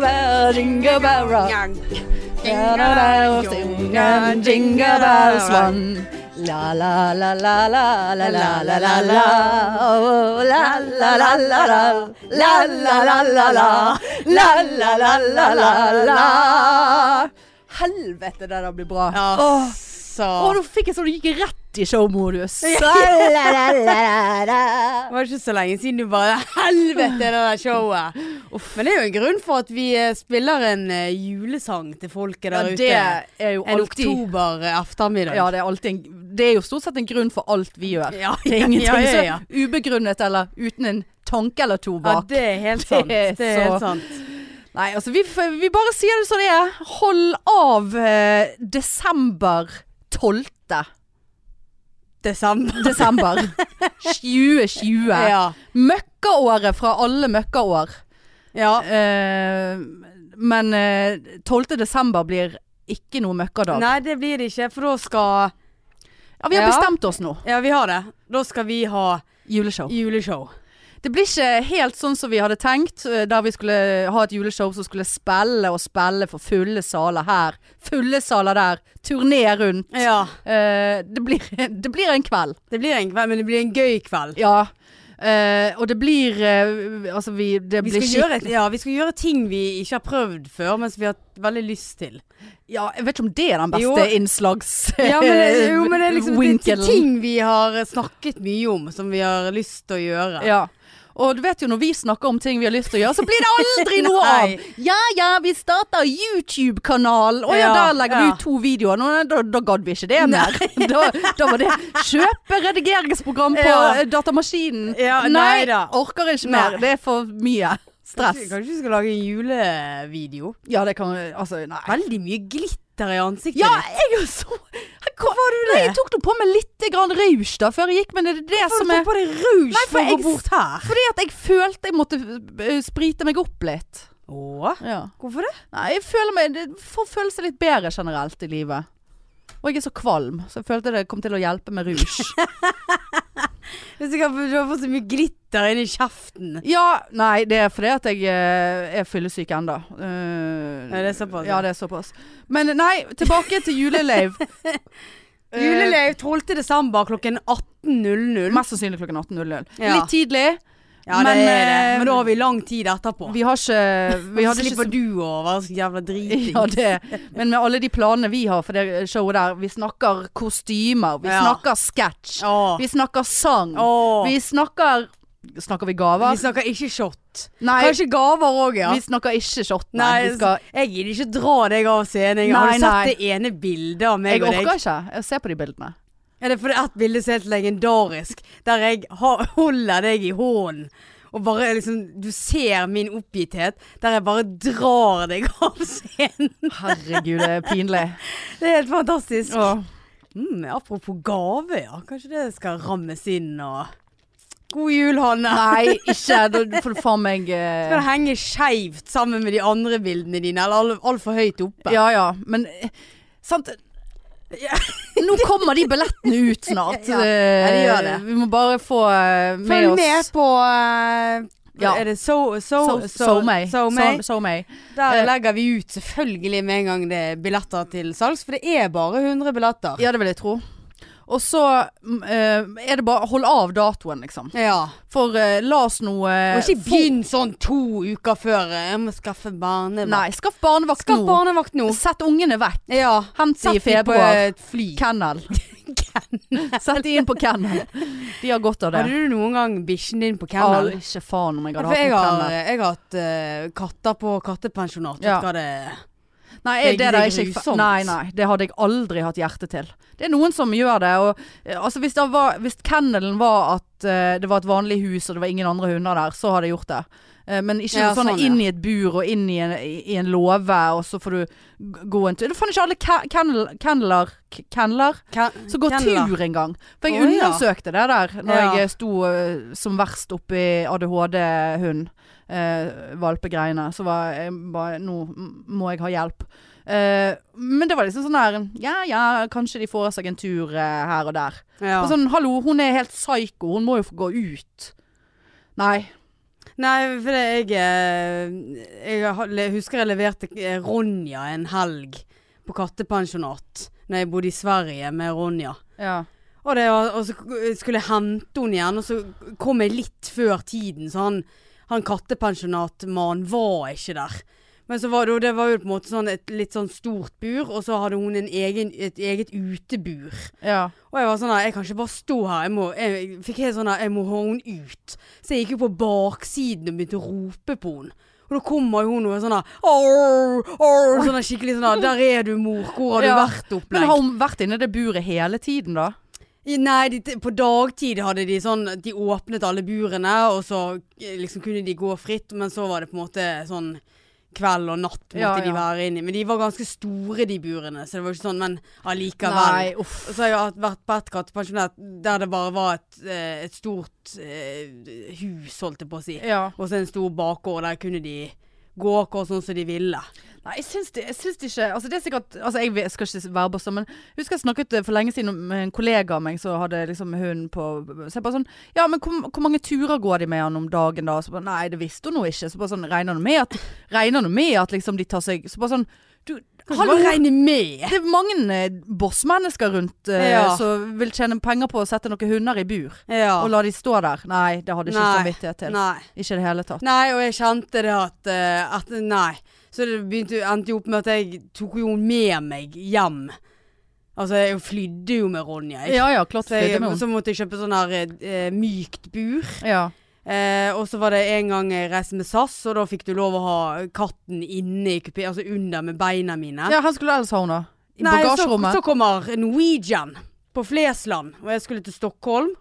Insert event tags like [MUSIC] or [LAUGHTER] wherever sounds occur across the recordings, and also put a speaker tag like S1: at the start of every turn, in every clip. S1: bell, jingle bell rock. Da-da-da, sing and jingle bells one. La la la la la la la la la la Oh, la la la la la la la la la la la la la la la la Helvete, det der blir bra. Åh, Åh, nå fikk jeg sånn, du gikk rett i showmodus.
S2: Det var [LAUGHS] ikke så lenge siden du bare Helvete, det der showet! Men det er jo en grunn for at vi eh, spiller en eh, julesang til folket
S1: Ja,
S2: der
S1: det
S2: ute.
S1: er jo
S2: En
S1: alltid
S2: oktober ettermiddag.
S1: Ja, det er, alltid en, det er jo stort sett en grunn for alt vi gjør.
S2: [LAUGHS] Ja,
S1: Det er ingenting
S2: ja, ja, ja.
S1: som er ubegrunnet eller uten en tanke eller to
S2: Ja,
S1: bak.
S2: det er helt sant.
S1: Det er
S2: Det er
S1: så-
S2: helt sant.
S1: Nei, altså vi, f- vi bare sier det som det er. Hold av eh, desember 12.
S2: Desember.
S1: desember 2020.
S2: [LAUGHS] Ja.
S1: Møkkaåret fra alle møkkaår.
S2: ja.
S1: Eh, men eh, 12. desember blir ikke noe møkkadag.
S2: Nei, det blir det ikke, for da skal
S1: Ja, vi har
S2: Ja.
S1: bestemt oss nå.
S2: Ja, vi har det. Da skal vi ha
S1: Juleshow.
S2: juleshow.
S1: Det blir ikke helt sånn som vi hadde tenkt, eh, der vi skulle ha et juleshow som skulle spille og spille for fulle saler her, fulle saler der, turné rundt.
S2: Ja.
S1: Eh, det, blir, [LAUGHS] det blir en kveld.
S2: Det blir en kveld, men det blir en gøy kveld.
S1: Ja. Eh, og det blir eh, Altså, vi Det
S2: Vi
S1: blir
S2: skal, gjøre, et- ja, vi skal gjøre ting vi ikke har prøvd før, men som vi har hatt veldig lyst til.
S1: Ja, jeg vet ikke om det er den beste
S2: Jo.
S1: innslags...
S2: Ja, men det, jo, men det er liksom det er
S1: [LAUGHS] winkelen.
S2: ting vi har snakket mye om, som vi har lyst til å gjøre.
S1: Ja. Og du vet jo når vi snakker om ting vi har lyst til å gjøre, så blir det aldri [LAUGHS] noe av.
S2: Nei.
S1: Ja ja, vi starter YouTube-kanal. Å ja,
S2: Ja,
S1: der legger
S2: ja.
S1: du ut to videoer. Nå, nei, da, da gadd vi ikke det [LAUGHS] mer. Da, da var det kjøpe redigeringsprogram på
S2: Ja.
S1: eh, datamaskinen.
S2: Ja, nei da.
S1: orker ikke mer.
S2: Nei.
S1: Det er for mye stress.
S2: Kanskje vi skal lage en julevideo?
S1: Ja, det kan Altså, nei.
S2: Veldig mye glitter i ansiktet
S1: Ja,
S2: ditt.
S1: jeg er jo så Hvorfor var du
S2: det?
S1: Jeg tok nå på meg litt grann rouge da før jeg gikk, men er det det
S2: Hvorfor
S1: som
S2: har
S1: er
S2: du fått på deg rouge
S1: Nei, for
S2: for å
S1: jeg
S2: gå bort her?
S1: Fordi at jeg følte jeg måtte eh, sprite meg opp litt.
S2: Åh,
S1: Ja.
S2: hvorfor det?
S1: Nei, jeg føler meg Det får føle seg litt bedre generelt i livet. Og jeg er så kvalm, så jeg følte det kom til å hjelpe med
S2: [LAUGHS]
S1: rouge.
S2: Hvis jeg kan, du har fått så mye glitter inni kjeften.
S1: ja, nei, det er fordi at jeg eh, er fyllesyk ennå. Eh,
S2: Ja, det er såpass,
S1: Ja,
S2: ja.
S1: det er såpass. Men nei, tilbake til
S2: [LAUGHS]
S1: juleleiv. Eh,
S2: Julelev 12. desember klokken 18.00.
S1: Mest sannsynlig klokken 18.00.
S2: Ja.
S1: Litt tidlig.
S2: Ja, det
S1: men,
S2: er det.
S1: eh,
S2: Men da har vi lang tid etterpå.
S1: Vi har ikke vi
S2: Så
S1: hadde ikke
S2: slipper du å være så jævla driting.
S1: [LAUGHS] Ja, det. Men med alle de planene vi har for det showet der, vi snakker kostymer, vi
S2: Ja.
S1: snakker sketsj,
S2: [LAUGHS] Åh.
S1: vi snakker sang,
S2: Åh.
S1: vi snakker Snakker vi gaver?
S2: Vi snakker ikke shot.
S1: Nei,
S2: Kanskje gaver òg, ja.
S1: vi snakker ikke shot, nei.
S2: Nei,
S1: vi skal,
S2: jeg gidder ikke dra deg av scenen. Jeg har
S1: Nei,
S2: du sett
S1: nei.
S2: det ene bildet av meg
S1: jeg
S2: og deg.
S1: orker ikke å se på de bildene.
S2: Ja, det er fordi ett bilde som er helt legendarisk, der jeg ha- [LAUGHS] holder deg i hånden. Og bare liksom, Du ser min oppgitthet, der jeg bare drar deg [LAUGHS] av scenen.
S1: Herregud, det er pinlig.
S2: Det er helt fantastisk.
S1: [LAUGHS] Åh.
S2: Mm, apropos gave, ja. Kanskje det skal rammes inn og God jul, Hanne.
S1: Nei, ikke. Da får du faen meg
S2: Skal
S1: eh,
S2: det henge skeivt sammen med de andre bildene dine, eller altfor høyt oppe?
S1: Ja ja, men eh, Sant. [LAUGHS] Nå kommer de billettene ut [LAUGHS] snart.
S2: Ja, ja, de gjør det.
S1: Eh, Vi må bare få eh, med
S2: Følg
S1: oss
S2: med på eh,
S1: Ja.
S2: Er det So... So...
S1: So- SoMe.
S2: So May.
S1: So- SoMe.
S2: Der
S1: Eh,
S2: legger vi ut selvfølgelig med en gang det er billetter til salgs, for det er bare 100 billetter.
S1: Ja, det vil jeg tro. Og så mm, eh, er det bare hold av datoen, liksom.
S2: Ja.
S1: For eh, la oss nå eh,
S2: Og ikke
S1: få-
S2: begynn sånn to uker før. eh, Jeg må skaffe barnevakt.
S1: Nei, skaff barnevakt
S2: Skaff
S1: nå.
S2: barnevakt nå.
S1: Sett ungene vekk.
S2: Ja.
S1: Hent de i
S2: Sett dem på eh,
S1: februar.
S2: et fly.
S1: Kennel. [LAUGHS] Sett de inn på kennel. De har godt av det.
S2: Hadde du noen gang bikkjen din på
S1: Al-
S2: kennel?
S1: ikke faen om jeg
S2: Ja,
S1: hadde
S2: for jeg
S1: hatt noen
S2: har,
S1: kennel.
S2: jeg har hatt eh, katter på kattepensjonat. Vet
S1: Ja.
S2: du hva det
S1: Nei,
S2: Det er-
S1: det,
S2: det er
S1: der er ikke jeg fa-
S2: grusomt.
S1: nei, nei, det hadde jeg aldri hatt hjerte til. Det er noen som gjør det. Og, eh, altså, hvis, det var, hvis kennelen var at eh, det var et vanlig hus og det var ingen andre hunder der, så hadde jeg gjort det. Eh, men ikke
S2: Ja,
S1: sånn,
S2: sånn,
S1: inn i et bur og inn i en, i i en låve, og så får du g- gå en tur. Det er faen ikke alle ke- kennel- kenneler k- Kenneler?
S2: Ken-
S1: Som går
S2: kenneler.
S1: tur en gang. For jeg
S2: Å, ja.
S1: undersøkte det der når
S2: Ja.
S1: jeg sto eh, som verst oppi ADHD-hund. Eh, valpegreiene. Så var jeg bare Nå m- må jeg ha hjelp. Eh, men det var liksom sånn der Ja ja, kanskje de får seg en tur eh, her og der.
S2: Ja.
S1: Og sånn hallo, hun er helt psyko. Hun må jo få gå ut. Nei.
S2: Nei, for det jeg eh, Jeg har- le- husker jeg leverte eh, Ronja en helg på kattepensjonat. Når jeg bodde i Sverige med Ronja.
S1: Ja.
S2: Og, det, var- og så k- skulle jeg hente henne igjen, og så kom jeg litt før tiden, så han, han kattepensjonatmannen var ikke der. Men så var det, jo- det var jo på en måte sånn et litt sånn stort bur, og så hadde hun en egen, et eget utebur.
S1: ja.
S2: Og jeg var sånn her, jeg kan ikke bare stå her, jeg, må, jeg, jeg fikk helt sånn her, jeg må ha henne ut. Så jeg gikk jo på baksiden og begynte å rope på henne. Og da kommer jo hun og er sånn her, «Arr, arr», sånn her skikkelig sånn her, der er du mor, hvor har du
S1: Ja.
S2: vært
S1: Men
S2: opplegg?
S1: har hun vært inne i det buret hele tiden, da?
S2: I- Nei, de, på dagtid hadde de sånn De åpnet alle burene, og så eh, liksom kunne de gå fritt, men så var det på en måte sånn kveld og natt måtte
S1: Ja,
S2: de
S1: ja.
S2: være inni. Men de var ganske store, de burene, så det var jo ikke sånn, men allikevel.
S1: uff.
S2: Så har jeg hatt- vært på et kattepensjonat der det bare var et, eh, et stort eh, hus, holdt jeg på å si.
S1: Ja.
S2: Og så en stor bakgård, der kunne de gå akkurat sånn som de ville.
S1: Nei, jeg syns, det, jeg syns det ikke Altså, det er sikkert Altså, jeg vet- skal ikke være bossa, men jeg husker jeg snakket eh, for lenge siden om- med en kollega av meg som hadde liksom hund på Så jeg bare sånn Ja, men hvor, hvor mange turer går de med han om dagen, da? Så bare Nei, det visste hun nå ikke. Så bare sånn Regner du med at Regner du med at liksom de tar seg Så bare sånn Du,
S2: Hallo!
S1: hallo!
S2: Bare regne med!
S1: Det er mange eh, bossmennesker rundt eh,
S2: Ja.
S1: som vil tjene penger på å sette noen hunder i bur.
S2: Ja.
S1: Og la de stå der. Nei, det hadde ikke
S2: Nei.
S1: samvittighet til.
S2: Nei.
S1: Ikke i det hele tatt.
S2: Nei, og jeg kjente det at, eh, at Nei. Så det begynte, endte jo opp med at jeg tok jo med meg hjem. Altså, jeg flydde jo med Ronja. jeg.
S1: Ja ja, klart
S2: Så,
S1: vi
S2: jeg,
S1: er med
S2: så måtte jeg kjøpe sånn her eh, mykt bur.
S1: Ja.
S2: Eh, og så var det en gang jeg reiste med SAS, og da fikk du lov å ha katten inne i kupé, altså under med beina mine.
S1: ja, hvor skulle du ellers ha henne, da? I
S2: Nei,
S1: bagasjerommet?
S2: Så, så kommer Norwegian på Flesland, og jeg skulle til Stockholm.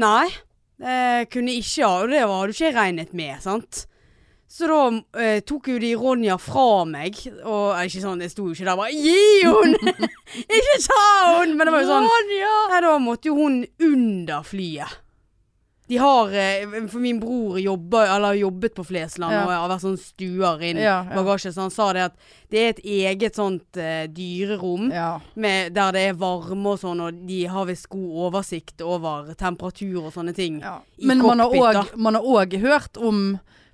S2: Nei, eh, kunne ikke ha, og det hadde jo ikke jeg regnet med, sant? Så da eh, tok jo de Ronja fra meg, og eh, ikke sånn, jeg sto jo ikke der bare, gi hun! [LAUGHS] ikke ta hun! Men det var jo sånn, Nei, da måtte jo hun under flyet. De har, eh, for min bror jobber, eller har jobbet på Flesland
S1: Ja.
S2: og har vært sånn stuer inn
S1: Ja, ja.
S2: bagasje, så han sa det at det er et eget sånt eh, dyrerom
S1: Ja.
S2: med, der det er varme og sånn, og de har visst god oversikt over temperatur og sånne ting.
S1: ja.
S2: I
S1: Men man har
S2: cockpit, da.
S1: også- man har òg hørt om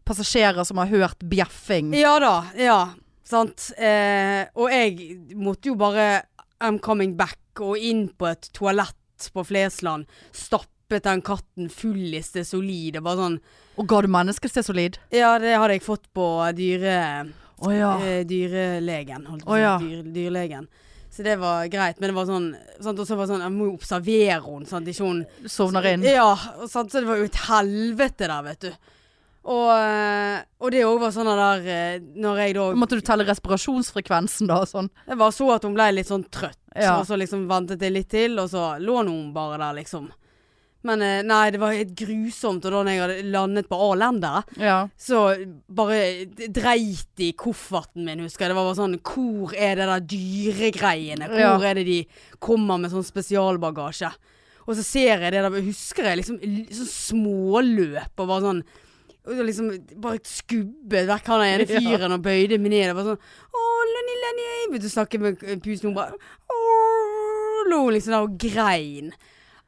S1: passasjerer som har hørt bjeffing.
S2: Ja da, ja, sant. Eh, og jeg måtte jo bare I'm coming back og inn på et toalett på Flesland, stappet den katten full i stesolid, og bare sånn
S1: Og ga du mennesket seg solid?
S2: Ja, det hadde jeg fått på dyre,
S1: Å ja.
S2: eh, dyrelegen. Holdt jeg på å
S1: Å
S2: si,
S1: ja.
S2: dyr, dyrelegen. Så det var greit, men det var sånn sant? Og så var det sånn Jeg må jo observere henne, sant? Ikke hun
S1: Sovner inn.
S2: Ja. og Sant? Så det var jo et helvete der, vet du. Og, eh, og det òg var sånn der eh, Når jeg da
S1: Måtte du telle respirasjonsfrekvensen da og sånn?
S2: Jeg bare så at hun ble litt sånn trøtt,
S1: Ja.
S2: og så liksom ventet jeg litt til, og så lå nå hun bare der, liksom. Men eh, nei, det var helt grusomt, og da når jeg hadde landet på A-lender
S1: Ja.
S2: så bare d- dreit i kofferten min, husker jeg. Det var bare sånn Hvor er det der dyregreiene? Hvor
S1: Ja.
S2: er det de kommer med sånn spesialbagasje? Og så ser jeg det der, husker jeg liksom l- sånn småløp og bare sånn og så liksom bare skubbet vekk han ene
S1: [LAUGHS] Ja.
S2: fyren og bøyde meg ned. Og bare sånn Å, Lenny, Lenny Begynte å snakke med eh, pusen, hun bare «Åh», Lå liksom der og grein.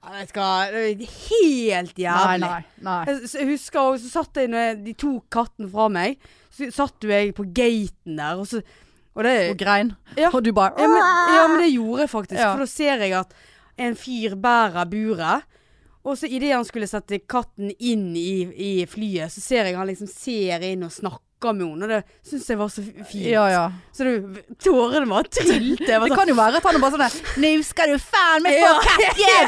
S2: Jeg vet ikke hva. det var Helt
S1: Nei,
S2: jævlig.
S1: nei. nei.
S2: Jeg, så jeg husker også, så satt jeg når jeg- de tok katten fra meg, så satt jo jeg på gaten der, og så Og
S1: Og
S2: det
S1: grein.
S2: Eh, Ja.
S1: Og du bare
S2: ja, men, ja, men det gjorde jeg faktisk,
S1: Ja.
S2: for da ser jeg at en fyr bærer buret. Og så idet han skulle sette katten inn i, i flyet, så ser jeg han liksom ser inn og snakker med henne, og det syns jeg var så f- fint.
S1: Ja, ja.
S2: Så du,
S1: [LAUGHS]
S2: tårene bare trilte. Jeg var
S1: Det
S2: sånn
S1: kan jo være at han er bare sånn der, Nå skal du faen meg få
S2: [LAUGHS] Ja.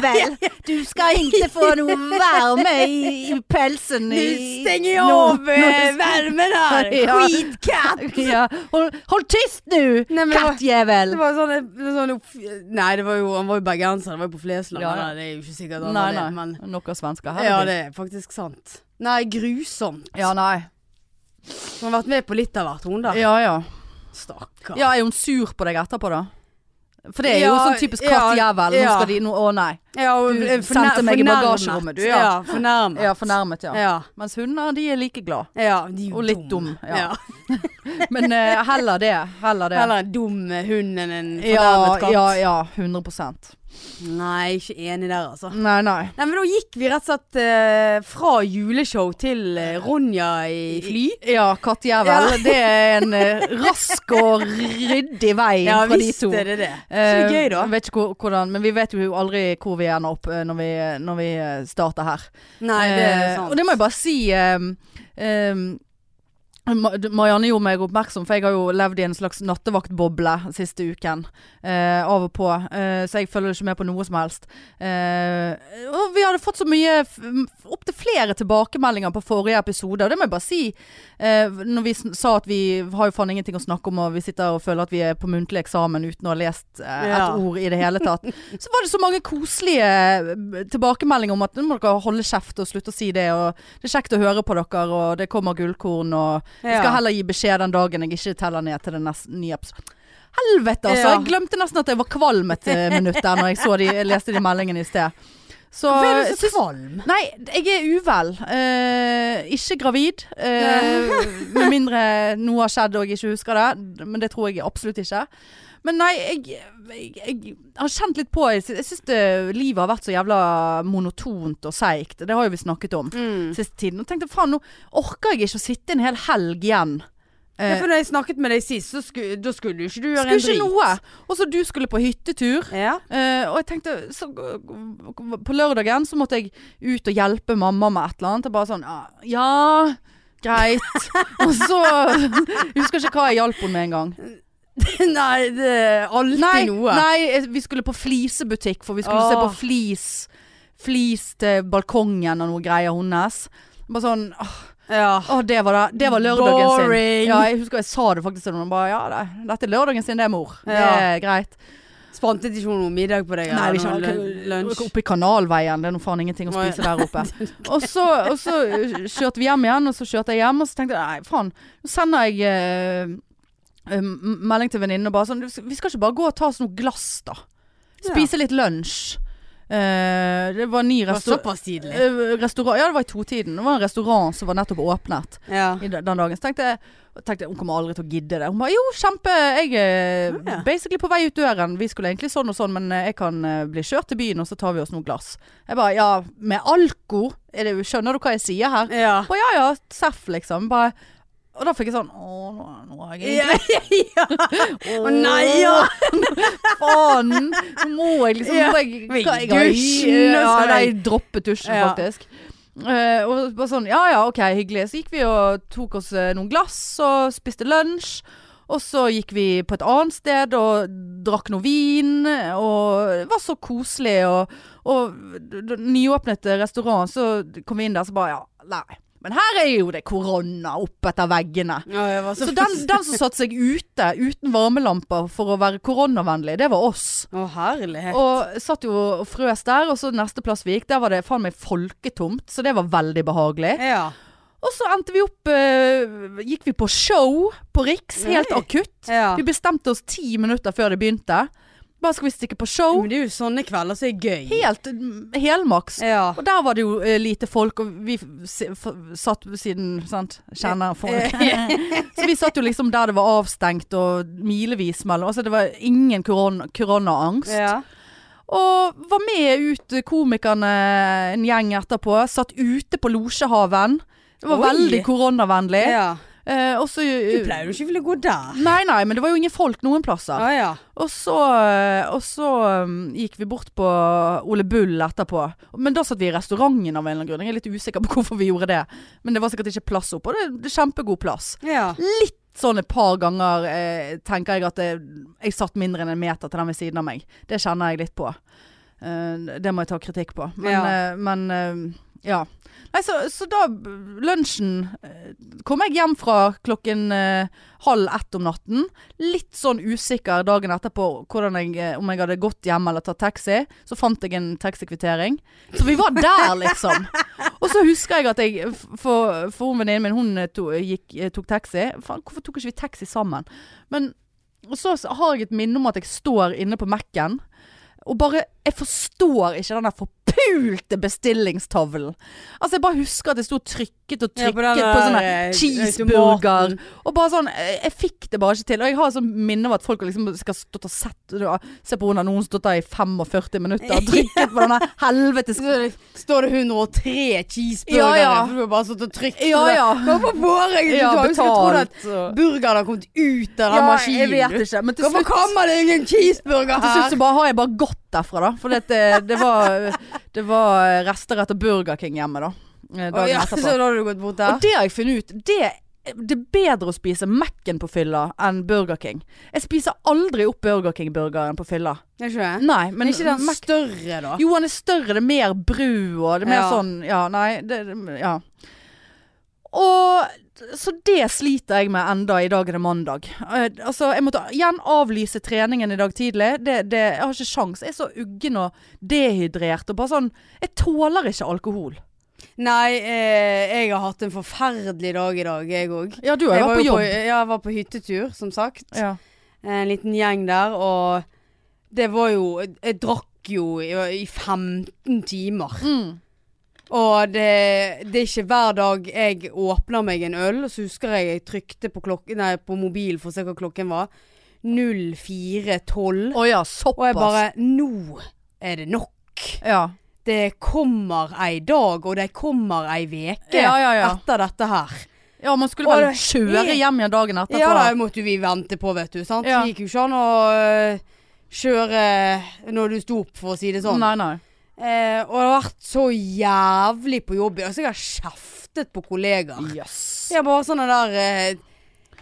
S1: kattjævel! Du skal ikke
S2: [LAUGHS]
S1: få noe varme i, i pelsen.
S2: Nå
S1: i-
S2: stenger jeg
S1: nå-
S2: av eh, vermen her!
S1: [LAUGHS] Ja.
S2: Skitkatt!
S1: [LAUGHS] Ja. Hold, hold tyst nå,
S2: Nei, men det var-
S1: kattjævel!
S2: Det var sånn, det var sånn opp- Nei, det var jo, han var jo bergenser, det var jo på Flesland.
S1: Ja, ja.
S2: eller, Det er jo ikke sikkert han
S1: Nei,
S2: var det,
S1: nei.
S2: men
S1: Noen svensker her.
S2: Ja,
S1: det...
S2: det er faktisk sant. Nei, grusomt.
S1: ja, nei.
S2: Hun har vært med på litt av hvert, hun da.
S1: Ja, ja.
S2: Stakkar.
S1: ja, er hun sur på deg etterpå, da? For det er jo
S2: Ja,
S1: sånn typisk
S2: ja,
S1: kattjævel. Nå
S2: ja.
S1: skal de nå Å, nei.
S2: Ja, og
S1: Du
S2: eh, fornær-
S1: sendte meg i
S2: fornærmet.
S1: bagasjerommet, du, ja.
S2: ja. Fornærmet.
S1: Ja, fornærmet, ja.
S2: Ja.
S1: Mens hunder, de er like glad.
S2: Ja, de er jo
S1: Og litt dum, ja.
S2: ja.
S1: Men eh, heller det. Heller det.
S2: Heller en dum hund enn en
S1: ja,
S2: fornærmet katt.
S1: ja, ja. 100
S2: Nei, ikke enig der, altså.
S1: Nei, nei.
S2: Nei, men da gikk vi rett og slett eh, fra juleshow til eh, Ronja i fly.
S1: Ja, kattjævel. Det er en eh, rask og ryddig vei fra de to.
S2: visst er det det. Så gøy, da.
S1: Eh, vet ikke hvor- hvordan, men vi vet jo aldri hvor vi ender opp eh, når vi, når vi eh, starter her.
S2: Nei, det er
S1: Eh,
S2: sant.
S1: og det må jeg bare si ehm, ehm, Ma- Marianne gjorde meg oppmerksom, for jeg har jo levd i en slags nattevaktboble siste uken. eh, av og på. eh, så jeg følger ikke med på noe som helst. Eh, og vi hadde fått så mye Opptil flere tilbakemeldinger på forrige episode, og det må jeg bare si. eh, når vi sn- sa at vi har jo faen ingenting å snakke om, og vi sitter og føler at vi er på muntlig eksamen uten å ha lest eh,
S2: Ja.
S1: et ord i det hele tatt. Så var det så mange koselige eh, tilbakemeldinger om at nå må dere holde kjeft og slutte å si det. Og det er kjekt å høre på dere, og det kommer gullkorn, og jeg
S2: Ja.
S1: skal heller gi beskjed den dagen jeg ikke teller ned til den neste nye episoden. Helvete, altså!
S2: Ja.
S1: Jeg glemte nesten at jeg var kvalm et eh, minutt der når jeg, så de, jeg leste de meldingene i sted. Så,
S2: Hvorfor er du så
S1: syns-
S2: kvalm?
S1: Nei, jeg er uvel. Eh, ikke gravid. eh, med mindre noe har skjedd og jeg ikke husker det. Men det tror jeg absolutt ikke. Men nei, jeg, jeg, jeg har kjent litt på Jeg sy- jeg syns det- livet har vært så jævla monotont og seigt. Det har jo vi snakket om
S2: Mm.
S1: siste tiden. Og tenkte faen, nå orker jeg ikke å sitte en hel helg igjen.
S2: Ja, for når jeg snakket med deg sist, så skulle, da skulle jo ikke du gjøre
S1: Skulle
S2: en drit.
S1: ikke noe. Og så du skulle på hyttetur.
S2: Ja.
S1: Eh, og jeg tenkte så, På lørdagen så måtte jeg ut og hjelpe mamma med et eller annet. Og bare sånn ah, Ja, greit.
S2: [LAUGHS]
S1: og så jeg Husker ikke hva jeg hjalp henne med en gang.
S2: [LAUGHS] nei, det er alltid
S1: Nei,
S2: noe.
S1: nei, eh, vi skulle på flisebutikk, for vi skulle se
S2: Åh.
S1: på flis. Flis til balkongen og noe greier hennes. Bare sånn Åh,
S2: Ja.
S1: åh, det var det. Det var lørdagen
S2: Boring.
S1: sin. Ja, jeg husker jeg sa det faktisk til noen. Bare, ja, det, dette er lørdagen sin, det, mor. Det
S2: Ja.
S1: er greit.
S2: Spantet ikke hun noe middag på deg?
S1: Nei,
S2: eller
S1: vi
S2: noe
S1: kjører
S2: lun- lunsj?
S1: oppe i kanalveien. Det er nå faen ingenting å
S2: Nei.
S1: spise der oppe. Og så, og så eh, kjørte vi hjem igjen, og så kjørte jeg hjem, og så tenkte jeg nei, faen. Nå sender jeg eh, eh, m- melding til venninnen og bare sånn Vi skal ikke bare gå og ta oss noe glass, da. Spise litt lunsj. Eh, det var en ny
S2: Det var
S1: restaurant.
S2: såpass tidlig.
S1: Restaurant, ja det var i totiden. Det var en restaurant som var nettopp åpnet
S2: Ja.
S1: i den den dagen. Så tenkte jeg, tenkte jeg hun kommer aldri til å gidde det. Hun bare jo, kjempe. Jeg er
S2: Ja, ja.
S1: basically på vei ut døren. Vi skulle egentlig sånn og sånn, men eh, jeg kan eh, bli kjørt til byen, og så tar vi oss noen glass. Jeg bare ja, med alko? Er det, skjønner du hva jeg sier her?
S2: Ja.
S1: Hun Bare ja ja, seff, liksom. Bare og da fikk jeg sånn Å, nå, nå har jeg
S2: Ja, ja.
S1: egentlig
S2: Å nei, ja.
S1: Faen! Nå må jeg liksom
S2: Ja,
S1: jeg,
S2: vi
S1: hva- jeg har-
S2: dusjen, og
S1: Ja,
S2: så-
S1: nei, droppe dusjen,
S2: Ja.
S1: faktisk. Eh, og bare sånn Ja ja, OK, hyggelig. Så gikk vi og tok oss eh, noen glass og spiste lunsj. Og så gikk vi på et annet sted og drakk noe vin, og det var så koselig. Og, og d- d- nyåpnet restaurant, så kom vi inn der, så bare Ja, nei. Men her er jo det korona oppetter veggene.
S2: Ja, jeg var
S1: Så den, den som satte seg ute uten varmelamper for å være koronavennlig, det var oss.
S2: Å, herlighet.
S1: Og satt jo og frøs der, og så neste plass vi gikk, der var det faen meg folketomt, så det var veldig behagelig.
S2: Ja.
S1: Og så endte vi opp eh, Gikk vi på show på Riks, helt
S2: Nei.
S1: akutt.
S2: ja.
S1: Vi bestemte oss ti minutter før det begynte. Bare skal vi stikke på show.
S2: Men det er jo sånne kvelder som er gøy.
S1: Helt mm, helmaks.
S2: Ja.
S1: Og der var det jo eh, lite folk, og vi f- si- f- satt på siden sant? Kjenner folk.
S2: Eh,
S1: [LAUGHS] så vi satt jo liksom der det var avstengt og milevis mellom. Altså det var ingen koron koronaangst.
S2: Ja.
S1: Og var med ut eh, komikerne en gjeng etterpå. Satt ute på Losjehaven. Det var
S2: Oi.
S1: veldig koronavennlig.
S2: ja.
S1: Eh, og så eh,
S2: Du pleier jo ikke å ville gå der.
S1: Nei, nei, men det var jo ingen folk noen plasser.
S2: Å ja.
S1: Og så, eh, og så um, gikk vi bort på Ole Bull etterpå. Men da satt vi i restauranten av en eller annen grunn. Jeg er litt usikker på hvorfor vi gjorde det. Men det var sikkert ikke plass oppe, og det, det er kjempegod plass.
S2: Ja.
S1: Litt sånn et par ganger eh, tenker jeg at det, jeg satt mindre enn en meter til den ved siden av meg. Det kjenner jeg litt på. Eh, det må jeg ta kritikk på. Men ja.
S2: Ja.
S1: men, eh, ja. Nei, så, så da b- lunsjen eh, kom jeg hjem fra klokken eh, halv ett om natten. Litt sånn usikker dagen etterpå hvordan jeg, eh, om jeg hadde gått hjem eller tatt taxi. Så fant jeg en taxikvittering. Så vi var der, liksom. Og så husker jeg at jeg For, for hun venninnen min, hun eh, to, gikk, eh, tok taxi. Faen, hvorfor tok ikke vi taxi sammen? Men og så har jeg et minne om at jeg står inne på Mac-en. Og bare Jeg forstår ikke den der forpulte bestillingstavlen. Altså, jeg bare husker at jeg sto og trykket og
S2: Ja, på
S1: trykket på,
S2: den der,
S1: sånne
S2: eh,
S1: cheeseburger.
S2: automaten.
S1: Og bare sånn eh, Jeg fikk det bare ikke til. Og jeg har sånn minne av at folk liksom skal stått og sett Se på hun annonsen, stått der i 45 minutter
S2: [LAUGHS]
S1: og trykket [LAUGHS] på denne helvetes
S2: Så Står det 103 cheeseburgere?
S1: Ja, ja.
S2: For du har bare stått og trykt.
S1: Ja, ja.
S2: Hvorfor får jeg ikke
S1: Ja,
S2: betalt? Jeg skulle trodd at
S1: betalt.
S2: burgeren har kommet ut av den
S1: Ja,
S2: maskinen.
S1: jeg vet ikke. Men til
S2: Hvorfor
S1: slutt
S2: kommer det ingen cheeseburger
S1: Til slutt
S2: her?
S1: så bare har jeg bare gått derfra, da. For det, det, var, [LAUGHS] det var eh, rester etter Burger King hjemme, da. eh,
S2: Å,
S1: Dagen
S2: ja, så
S1: etterpå.
S2: da har du gått bort
S1: Og
S2: der?
S1: det har jeg funnet ut. Det, det er bedre å spise Mac-en på fylla enn Burger King. Jeg spiser aldri opp Burger King-burgeren på fylla.
S2: Jeg skjønner.
S1: Nei,
S2: Men
S1: men
S2: ikke den
S1: Mac
S2: større, da?
S1: Jo, han er større, det er mer bru og det er mer
S2: Ja.
S1: sånn Ja, nei, det det- Ja. Og så det sliter jeg med enda i dag er det mandag. Eh, altså, jeg måtte igjen avlyse treningen i dag tidlig. Det, det, jeg har ikke sjans. Jeg er så uggen og dehydrert og bare sånn Jeg tåler ikke alkohol.
S2: Nei, eh, jeg har hatt en forferdelig dag i dag, jeg òg.
S1: Ja, du har
S2: Jeg,
S1: jo
S2: var
S1: vært på
S2: jo på-
S1: jobb.
S2: ja, jeg var på hyttetur, som sagt.
S1: Ja.
S2: En liten gjeng der, og det var jo Jeg drakk jo i i 15 timer.
S1: Mm.
S2: Og det, det er ikke hver dag jeg åpner meg en øl, og så husker jeg jeg trykte på, klok nei, på mobilen for å se hva klokken var. 04.12.
S1: Å ja,
S2: Og jeg
S1: såpass.
S2: bare Nå er det nok.
S1: Ja.
S2: Det kommer ei dag, og det kommer ei veke
S1: Ja, ja, ja.
S2: etter dette her.
S1: ja, man skulle
S2: Å,
S1: vel
S2: det er
S1: kjøre
S2: helt-
S1: hjem igjen dagen etterpå.
S2: Ja, da måtte vi vente på, vet du. sant?
S1: Ja.
S2: Det gikk jo ikke an å øh, kjøre eh, når du sto opp, for å si det sånn.
S1: Nei, nei.
S2: Eh, og det har vært så jævlig på jobb. Altså, jeg har kjeftet på kollegaer.
S1: Jøss.
S2: Jeg er bare sånn der eh,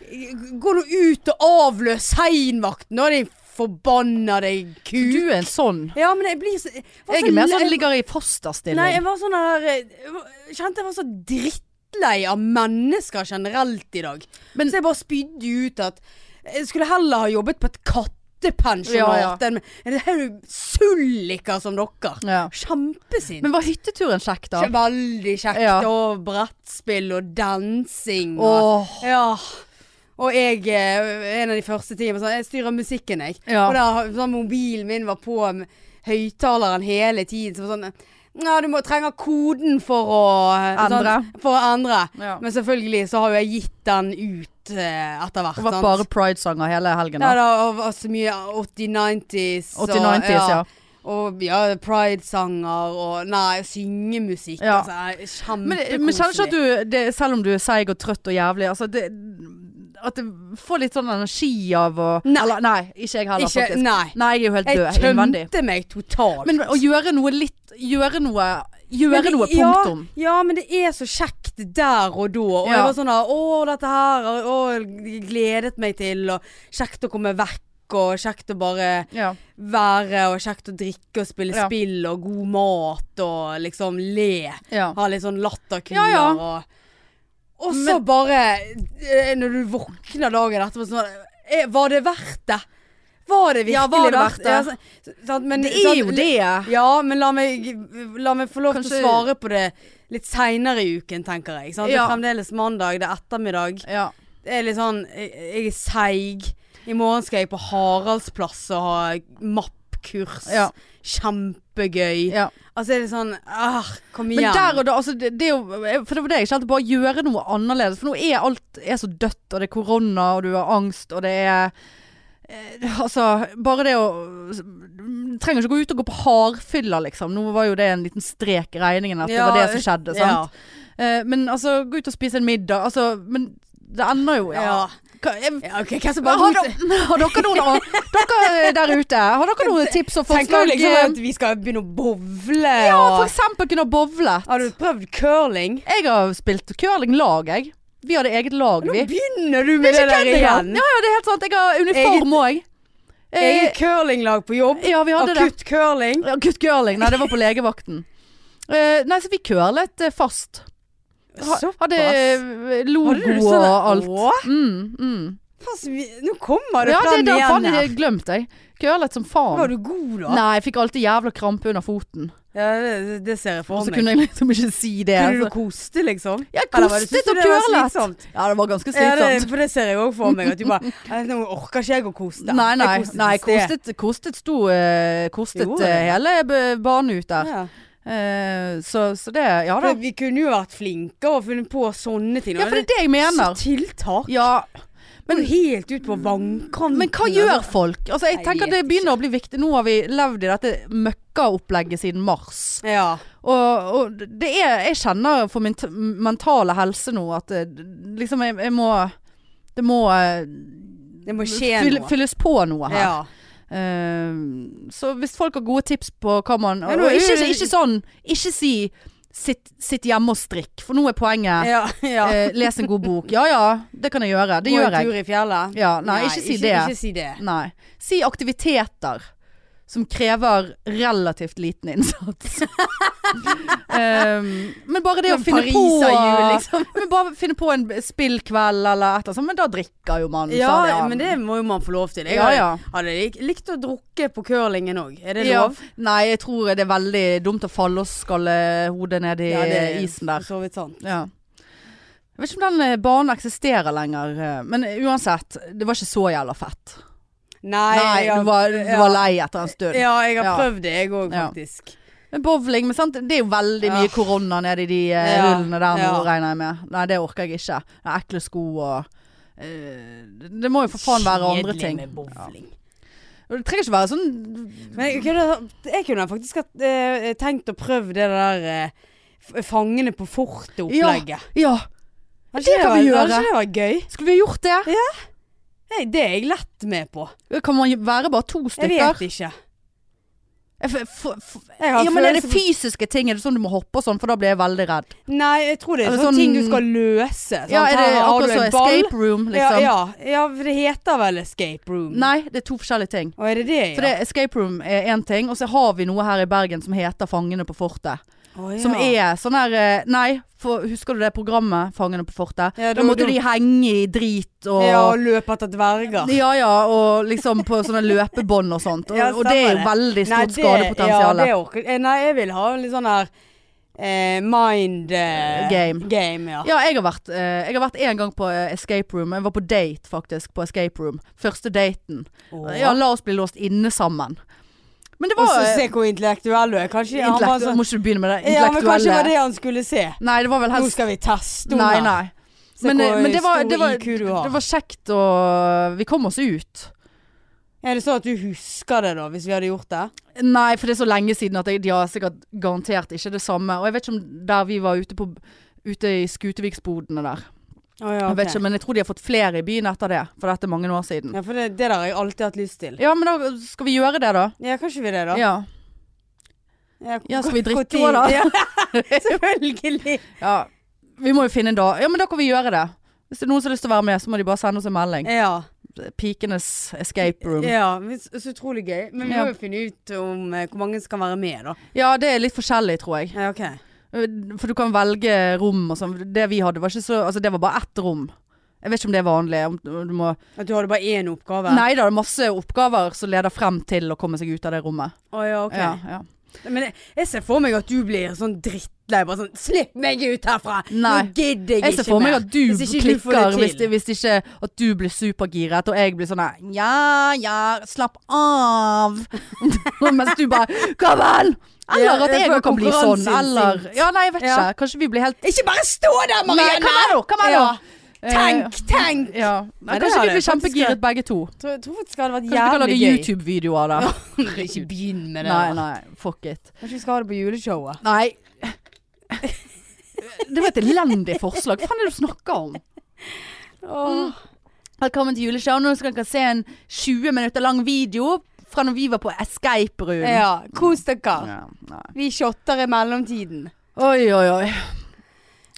S2: Gå nå ut og avløs seinvakten, da, din forbannede ku.
S1: Du er en sånn.
S2: Ja, men jeg blir så Jeg, var
S1: Jeg er mer sånn jeg
S2: le-
S1: ligger i
S2: Nei,
S1: fosterstilling.
S2: jeg var sånn der eh, jeg var- Kjente jeg var så drittlei av mennesker generelt i dag.
S1: Men-
S2: så jeg bare spydde ut at jeg skulle heller ha jobbet på et kattepensjonat
S1: Ja, ja.
S2: enn en haug sulliker som dere.
S1: Ja.
S2: Kjempesint.
S1: Men var hytteturen kjekk, da?
S2: Veldig kjekt.
S1: Ja.
S2: Og brettspill og dansing. Og
S1: Åh.
S2: Ja. Og jeg, eh, en av de første tingene var sånn, jeg styrer musikken jeg.
S1: Ja.
S2: Og da sånn, mobilen min var på med høyttaleren hele tiden. Så var sånn, ja, du må, trenger koden for å
S1: Endre.
S2: Sånn, for å endre.
S1: Ja.
S2: Men selvfølgelig så har jo jeg gitt den ut eh, etter hvert.
S1: Det var
S2: sant?
S1: bare Pride-sanger hele helgen. Da.
S2: ja, da, og, og så mye 80-90s.
S1: 80-90s, ja.
S2: Og ja, pride-sanger og nei, syngemusikk.
S1: Ja.
S2: Altså,
S1: Men,
S2: kjempekoselig.
S1: men kjenner ikke at du, det, selv om du er seig og trøtt og jævlig, altså det, at du får litt sånn energi av å
S2: Nei.
S1: Eller, nei, ikke jeg heller,
S2: Ikke,
S1: faktisk.
S2: nei.
S1: Nei, jeg er jo helt
S2: Jeg
S1: død innvendig.
S2: tømte meg totalt.
S1: Men å gjøre noe litt Gjøre noe Gjøre
S2: Men det-
S1: noe, punktum.
S2: Ja, ja, men det er så kjekt der og da. Og
S1: Ja.
S2: jeg var sånn der, Å, dette her og- Å, jeg gledet meg til. Og kjekt å komme vekk. Og kjekt å bare
S1: Ja.
S2: være, og kjekt å drikke og spille
S1: Ja.
S2: spill, og god mat, og liksom le.
S1: Ja.
S2: Ha litt sånn latterkuler
S1: Ja, ja.
S2: og Og så bare eh, Når du våkner dagen etterpå, så var det eh, Var det verdt det? Var det virkelig
S1: Ja, var det verdt det?
S2: Ja, så- sant, men, sånn,
S1: Det
S2: sant,
S1: er jo det.
S2: ja, men la meg, la meg få lov
S1: Ah. Kanskje-
S2: til å svare på det litt seinere i uken, tenker jeg. Sant? Det
S1: Ja.
S2: er fremdeles mandag, det er ettermiddag.
S1: Ja.
S2: Det er litt sånn Jeg, jeg er seig. I morgen skal jeg på Haraldsplass og ha mappkurs.
S1: Ja.
S2: Kjempegøy.
S1: ja.
S2: Altså er det sånn ah, Kom
S1: Men
S2: igjen.
S1: der og da, altså det, det er jo For det var det jeg kjente, bare gjøre noe annerledes. For nå er alt er så dødt, og det er korona, og du har angst, og det er eh, Altså, bare det å du Trenger ikke gå ut og gå på hardfylla, liksom. Nå var jo det en liten strek i regningen at det var det som skjedde, sant. Eh, men altså, gå ut og spise en middag. Altså, men det ender jo
S2: Ja.
S1: Ja.
S2: ja.
S1: Hva- jeg-
S2: ja ok, hvem som
S1: Har,
S2: bare går ut-
S1: dere- [LAUGHS] har dere noen Dere eh, der ute, har dere noen tips og
S2: Tenker
S1: forslag?
S2: du liksom at vi skal begynne å bowle
S1: ja, for
S2: og
S1: eksempel kunne ha bowlet.
S2: Har du prøvd curling?
S1: Jeg har spilt curlinglag, jeg. Vi hadde eget lag,
S2: Nå
S1: vi.
S2: begynner du med det, der
S1: kødd
S2: igjen.
S1: Ja, ja, det er helt sant. Jeg har uniform òg.
S2: Eget curlinglag på jobb.
S1: Ja, vi hadde det.
S2: Akutt curling.
S1: Ja, Akutt curling. Nei, det var på legevakten. Eh, nei, så vi curlet eh, fast. Ha-
S2: Såpass.
S1: Hadde eh,
S2: Hadde du
S1: logo
S2: sånn-
S1: og alt.
S2: Åh,
S1: Mm, mm.
S2: Pass, vi, nå kommer det
S1: Ja, det
S2: fram
S1: der
S2: igjen
S1: faen
S2: her.
S1: jeg glemt, jeg. Kølet som
S2: Var
S1: faen.
S2: du god, da?
S1: Nei, jeg fikk alltid jævla krampe under foten.
S2: Ja, det, det ser jeg for
S1: Og så
S2: meg.
S1: kunne jeg liksom ikke si det.
S2: Kunne
S1: Altså.
S2: du koste, liksom?
S1: Jeg
S2: Eller var det-
S1: kostet
S2: synes du
S1: og
S2: det var
S1: kølet.
S2: slitsomt?
S1: Ja, det var ganske
S2: Ja, det,
S1: slitsomt.
S2: for det ser jeg òg for meg. At du
S1: [LAUGHS]
S2: bare «Nei, Nå orker ikke jeg å koste.
S1: Nei, nei.
S2: Jeg kostet
S1: nei
S2: i sted.
S1: kostet, kostet sto eh, Kostet
S2: Jo,
S1: eh,
S2: det.
S1: hele b- banen ut der.
S2: Ja.
S1: Eh, så, så det Ja da.
S2: For vi kunne jo vært flinkere og funnet på sånne ting.
S1: Ja, for det er det jeg mener.
S2: Så tiltak.
S1: Ja,
S2: Men helt ut på vannkanten.
S1: Men hva gjør folk? Altså, jeg
S2: Nei,
S1: tenker
S2: jeg
S1: det
S2: vet
S1: begynner å bli viktig. Nå har vi levd i dette møkkaopplegget siden mars.
S2: Ja.
S1: Og, og det er Jeg kjenner for min t mentale helse nå at eh, liksom jeg, jeg må Det må eh,
S2: Det må skje
S1: fyll,
S2: noe.
S1: fylles på noe her.
S2: Ja.
S1: Eh, så hvis folk har gode tips på hva man
S2: Ja,
S1: Og,
S2: nå er
S1: og ikke,
S2: jo-
S1: ikke sånn Ikke si sitt, 'sitt hjemme og strikk', for nå er poenget
S2: Ja, ja.
S1: eh, les en god bok. Ja ja, det kan jeg gjøre. Det
S2: Gå
S1: gjør
S2: en
S1: jeg.
S2: tur i fjellet.
S1: Ja, nei, ikke si det. Mm,
S2: Ikke si det.
S1: Nei. Si aktiviteter som krever relativt liten innsats.
S2: [LAUGHS]
S1: Ehm, men bare det å
S2: Men
S1: finne på
S2: pariserhjul, liksom.
S1: [LAUGHS] Men bare finne på en spillkveld eller et eller annet sånt, men da drikker jo man,
S2: Ja,
S1: sa det han.
S2: men det må jo man få lov til. Jeg
S1: Ja, ja.
S2: hadde lik- likt å drukke på curlingen òg. Er det
S1: Ja.
S2: lov?
S1: Nei, jeg tror det er veldig dumt å falle og skalle hodet ned i
S2: det er
S1: isen der.
S2: For så vidt sant.
S1: Ja. Jeg vet ikke om den eh, banen eksisterer lenger, eh, men uansett, det var ikke så jævla fett.
S2: Nei,
S1: Nei,
S2: ja,
S1: du var, du
S2: ja.
S1: var lei etter en stund.
S2: Ja, jeg har
S1: Ja.
S2: prøvd det, jeg òg,
S1: Ja.
S2: faktisk.
S1: Men bowling, men sant? det er jo veldig mye
S2: Ja.
S1: korona nede i de eh,
S2: Ja,
S1: hullene der nå,
S2: ja.
S1: regner jeg med. Nei, det orker jeg ikke. Det er ekle sko og eh, Det må jo for faen være andre
S2: Kjedelig
S1: ting.
S2: med bowling.
S1: Og Det trenger ikke være sånn
S2: Men jeg kunne, jeg kunne faktisk hatt, eh, tenkt å prøve det der eh, f- Fangene på fortet-opplegget.
S1: Ja,
S2: Hadde
S1: det
S2: ikke
S1: kan vi
S2: vært-
S1: gjøre.
S2: Hadde ikke det vært gøy?
S1: skulle vi ha gjort det?
S2: Nei, det er jeg lett med på.
S1: Kan man være bare to
S2: Jeg
S1: stykker?
S2: vet ikke.
S1: Jeg f- f- f-
S2: Jeg har
S1: ja, men er det
S2: følelse for-
S1: fysiske ting? Er det sånn du må hoppe og sånn, for da blir jeg veldig redd?
S2: Nei, jeg tror det er
S1: Er det
S2: sånne
S1: sånn-
S2: ting du skal løse. sant?
S1: Ja, er det
S2: Her har du
S1: akkurat som
S2: Sånn, en ball.
S1: escape room, liksom?
S2: Ja, ja, ja, for det heter vel escape room.
S1: Nei, det er to forskjellige ting.
S2: Og er det det, ja?
S1: For det, escape room er én ting, og så har vi noe her i Bergen som heter Fangene på fortet.
S2: Å, ja.
S1: Som er sånn her eh, Nei, for, husker du det programmet 'Fangene på fortet'? da,
S2: Ja, da-
S1: måtte
S2: da-
S1: de henge i drit og
S2: Ja,
S1: ja.
S2: å løpe etter dverger.
S1: ja og liksom på sånne løpebånd og sånt. Og,
S2: Ja,
S1: og det er jo
S2: stemmer det.
S1: veldig
S2: Nei,
S1: stort
S2: det-
S1: skadepotensial.
S2: Ja, det orker eh, Nei, jeg vil ha en litt sånn her eh, mind eh,
S1: Game.
S2: ja.
S1: Ja, jeg har vært eh, Jeg har vært en gang på eh, escape room. Jeg var på date, faktisk, på escape room. Første daten.
S2: Åh.
S1: Ja, la oss bli låst inne sammen. Men det
S2: Og
S1: var
S2: så
S1: eh,
S2: se hvor intellektuell du er. Kanskje han var
S1: intellektu-
S2: sånn
S1: Må ikke du begynne med det
S2: Ja, men kanskje det var
S1: intellektuelle?
S2: det han skulle se.
S1: Nei, det var vel
S2: Nå
S1: helst
S2: skal vi teste
S1: Nei,
S2: henne.
S1: nei.
S2: Se
S1: Men,
S2: hvor
S1: eh, men det, var,
S2: stor
S1: det, var,
S2: IQ du har.
S1: det var kjekt, og vi kom oss ut.
S2: Er det sånn at du husker det, da, hvis vi hadde gjort det?
S1: Nei, for det er så lenge siden at jeg, de har sikkert garantert ikke det samme. Og jeg vet ikke om der vi var ute, på, ute i Skuteviksbodene der.
S2: Å, ja,
S1: Jeg vet
S2: ok.
S1: ikke, Men jeg tror de har fått flere i byen etter det, for dette er mange år siden. Ja,
S2: ja, for det, det der har jeg alltid hatt lyst til.
S1: men da skal vi gjøre det, da.
S2: Ja, kanskje vi det, da?
S1: Ja. Ja, skal vi drikke også, da?
S2: [LAUGHS] Ja,
S1: [LAUGHS]
S2: selvfølgelig.
S1: ja. Vi må jo finne en dag. Ja, men da kan vi gjøre det. Hvis det er noen som har lyst til å være med, så må de bare sende oss [LAUGHS] en melding.
S2: Ja.
S1: Pikenes escape room.
S2: Ja, men så så utrolig gøy. Men vi
S1: Ja.
S2: må jo finne ut om eh, hvor mange som kan være med, da.
S1: Ja, det er litt forskjellig, tror jeg.
S2: Ja, ok.
S1: For du kan velge rom og sånn. Det vi hadde var ikke så Altså det var bare ett rom. Jeg vet ikke om det er vanlig. Om du må
S2: At du hadde bare én oppgave?
S1: Nei da, det er masse oppgaver som leder frem til å komme seg ut av det rommet.
S2: Å ja, ok.
S1: Ja, ja.
S2: Men jeg, jeg ser for meg at du blir sånn drittlei. Bare sånn 'Slipp meg ut herfra!
S1: Nei.
S2: Nå gidder jeg,
S1: Jeg ser
S2: ikke
S1: for meg
S2: mer!'
S1: at du
S2: Hvis ikke du får
S1: klikker
S2: det
S1: hvis,
S2: til.
S1: hvis ikke at du blir supergiret, og jeg blir sånn her Ja, ja, slapp av. [LAUGHS] Mens du bare Kom an! Eller
S2: Ja,
S1: at jeg
S2: for
S1: også kan bli sånn. Eller
S2: konkurranseinstinkt.
S1: Ja, nei, jeg vet
S2: Ja.
S1: ikke. Kanskje vi blir helt
S2: Ikke bare stå der,
S1: Nei,
S2: Marianne!
S1: kom her nå! Kom her nå!
S2: Ja. Tenk, tenk!
S1: Eh, Ja.
S2: Nei,
S1: Nei,
S2: det
S1: kanskje
S2: har
S1: vi
S2: jeg
S1: blir
S2: faktisk
S1: kjempegiret begge to.
S2: Jeg tror, jeg tror faktisk det hadde vært
S1: Kanskje vi kan
S2: jævlig
S1: lage
S2: gøy.
S1: YouTube-videoer der.
S2: [LAUGHS] ikke begynn med det.
S1: Nei,
S2: da.
S1: nei, fuck it.
S2: Kanskje vi skal ha det på juleshowet. [LAUGHS]
S1: Nei. Det var et elendig forslag. Hva faen er det du snakker om?
S2: Åh.
S1: Velkommen til juleshow. Nå skal dere se en 20 minutter lang video fra når vi var på Escape Room.
S2: Ja, kos dere.
S1: Ja, nei.
S2: Vi shotter i mellomtiden.
S1: Oi, oi, oi.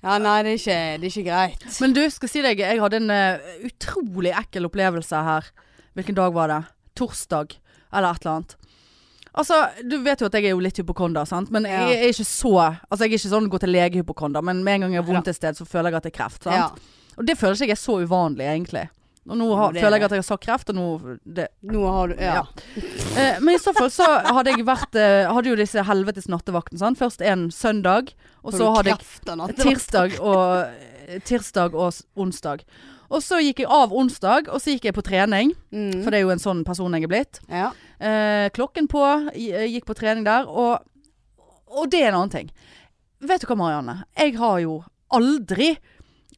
S2: Ja, nei, det er ikke, det er ikke greit.
S1: Men du, skal si deg, jeg hadde en eh, utrolig ekkel opplevelse her. Hvilken dag var det? Torsdag, eller et eller annet. Altså, du vet jo at jeg er jo litt hypokonder, sant? Men
S2: Ja.
S1: jeg er ikke så Altså, jeg er ikke sånn gå til lege-hypokonder, men med en gang jeg har vondt et sted, så føler jeg at det er kreft, sant?
S2: Ja.
S1: Og det føler ikke jeg er så uvanlig, egentlig. Og nå har,
S2: Det-
S1: føler jeg at jeg har sagt kreft, og nå det.
S2: Nå har du Ja.
S1: Ja. Eh, men i så fall så hadde jeg vært eh, Hadde jo disse helvetes nattevakten, sant. Først en søndag, og så hadde jeg tirsdag og, eh, tirsdag og s- onsdag. Og så gikk jeg av onsdag, og så gikk jeg på trening.
S2: mm.
S1: For det er jo en sånn person jeg er blitt.
S2: Ja.
S1: Eh, klokken på, i- eh, gikk på trening der, og, og det er en annen ting. Vet du hva, Marianne? Jeg har jo aldri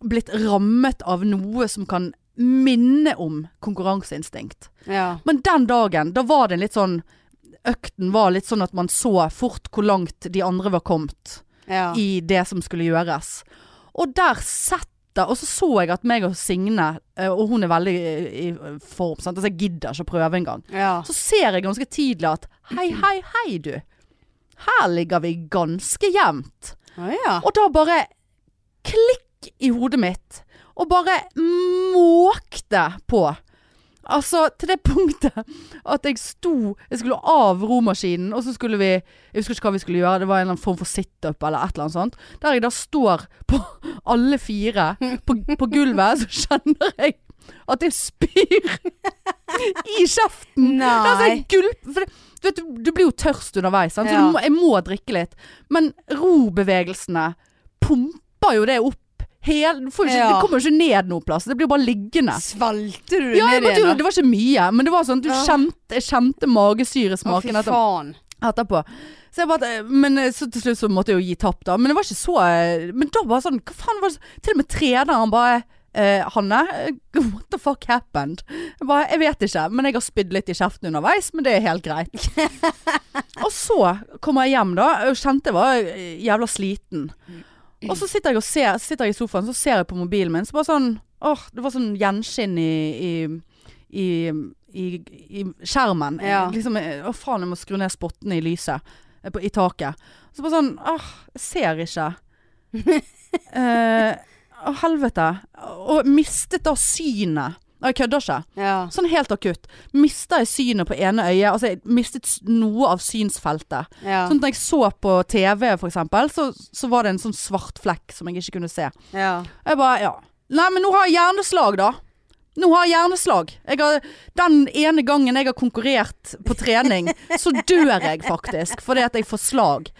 S1: blitt rammet av noe som kan minne om konkurranseinstinkt.
S2: ja.
S1: Men den dagen, da var det en litt sånn Økten var litt sånn at man så fort hvor langt de andre var kommet
S2: Ja.
S1: i det som skulle gjøres. Og der setter Og så så jeg at meg og Signe, eh, og hun er veldig eh, i form, sant? altså jeg gidder ikke å prøve engang.
S2: ja.
S1: Så ser jeg ganske tidlig at hei, hei, hei du. Her ligger vi ganske jevnt.
S2: Å ja.
S1: Og da bare klikk i hodet mitt. Og bare måkte på. Altså til det punktet at jeg sto Jeg skulle av romaskinen, og så skulle vi Jeg husker ikke hva vi skulle gjøre, det var en eller annen form for situp eller et eller annet sånt. Der jeg da står på alle fire på, på gulvet, så kjenner jeg at jeg spyr i kjeften. Altså, jeg
S2: Nei.
S1: gulp, for det, du, vet, du, du blir jo tørst underveis, sant? så
S2: Ja.
S1: du må, jeg må drikke litt. Men robevegelsene pumper jo det opp. Hel, du får jo ikke,
S2: Ja.
S1: Det kommer jo ikke ned noe plass. Det blir jo bare liggende.
S2: Svelgte du det
S1: Ja, jeg
S2: ned
S1: måtte jo,
S2: da?
S1: det var ikke mye, men det var sånn, du
S2: Ja.
S1: kjente, jeg kjente
S2: Å, fy
S1: magesyresmaken etter,
S2: faen.
S1: etterpå. Så jeg bare, men eh, så til slutt så måtte jeg jo gi tapp da, men det var ikke så, eh, men da bare sånn, hva faen var det, så- til og med treneren bare, eh, Hanne, [LAUGHS] eh, what the fuck happened? Jeg bare, jeg vet ikke, men jeg har spydd litt i kjeften underveis, men det er helt greit. og så kommer jeg hjem da, og kjente jeg var eh, jævla sliten. Og så sitter jeg, og ser, sitter jeg i sofaen, så ser jeg på mobilen min, så bare sånn, åh, det var sånn gjenskinn i, i, i, i, i skjermen.
S2: Ja.
S1: Liksom, eh, å faen, jeg må skru ned spottene i lyset, eh, på, i taket. Så bare sånn, åh, jeg ser ikke. Eh, å helvete. Og mistet da synet. Nei, Jeg kødder ikke.
S2: Ja.
S1: Sånn helt akutt. Mista jeg synet på ene øyet. Altså, jeg mistet s- noe av synsfeltet.
S2: Ja.
S1: Sånn at når jeg så på TV, for eksempel, så, så var det en sånn svart flekk som jeg ikke kunne se.
S2: ja.
S1: Jeg bare, ja. Nei, men nå har jeg hjerneslag, da. Nå har jeg hjerneslag. Jeg har, den ene gangen jeg har konkurrert på trening, så dør jeg faktisk fordi at jeg får slag.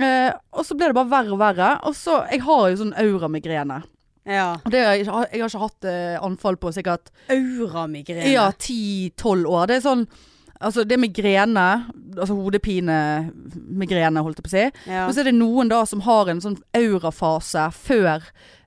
S1: Eh, og så ble det bare verre og verre. Og så, Jeg har jo sånn auramigrene.
S2: ja.
S1: Og det har jeg, ikke- jeg har ikke hatt eh, anfall på sikkert
S2: Auramigrene.
S1: ja, 10-12 år. Det er sånn Altså, det er migrene, altså hodepine-migrene, holdt jeg på å si.
S2: Ja.
S1: Men så er det noen da som har en sånn aurafase før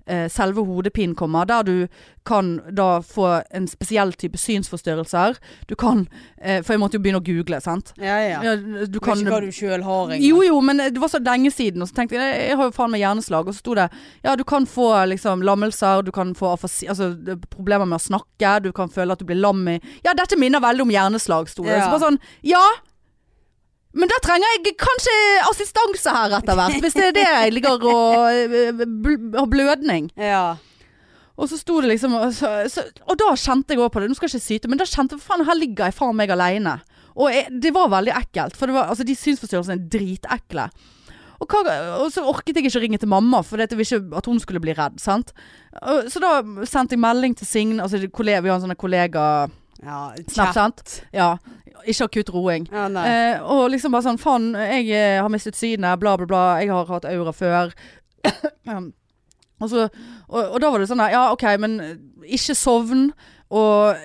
S1: eh, selve hodepinen kommer, der du kan da få en spesiell type synsforstyrrelser. Du kan eh, For jeg måtte jo begynne å google, sant.
S2: ja, ja.
S1: Ja, du
S2: Vet
S1: kan
S2: ikke hva du sjøl har engang.
S1: jo jo, men det var så lenge siden, og så tenkte jeg jeg har jo faen meg hjerneslag. Og så sto det ja, du kan få liksom lammelser, du kan få afasi, altså, det- problemer med å snakke, du kan føle at du blir lam i Ja, dette minner veldig om hjerneslag, sto det.
S2: Ja.
S1: Så bare sånn ja. Men da trenger jeg kanskje assistanse her etter hvert, hvis det er det jeg ligger og eh, bl- har blødning.
S2: Ja.
S1: Og så sto det liksom Og, så, så, og da kjente jeg òg på det. Nå skal jeg ikke syte, men da kjente jeg faen, her ligger jeg faen meg aleine. Og jeg, det var veldig ekkelt, for det var, altså, de synsforstyrrelsene er dritekle. Og, hva, og så orket jeg ikke å ringe til mamma, for jeg ville ikke at hun skulle bli redd. Sant? Og- Så da sendte jeg melding til Signe, altså, det- kollega, vi har en sånn kollega-snap,
S2: ja. Kjapt.
S1: sant? Ja. Ikke akutt roing.
S2: Ja, nei.
S1: Eh, og liksom bare sånn Faen, jeg eh, har mistet synet, bla, bla, bla. Jeg har hatt aura
S2: [COUGHS]
S1: før. Um, og, så, og, og da var det sånn der, Ja, OK, men eh, ikke sovn. Og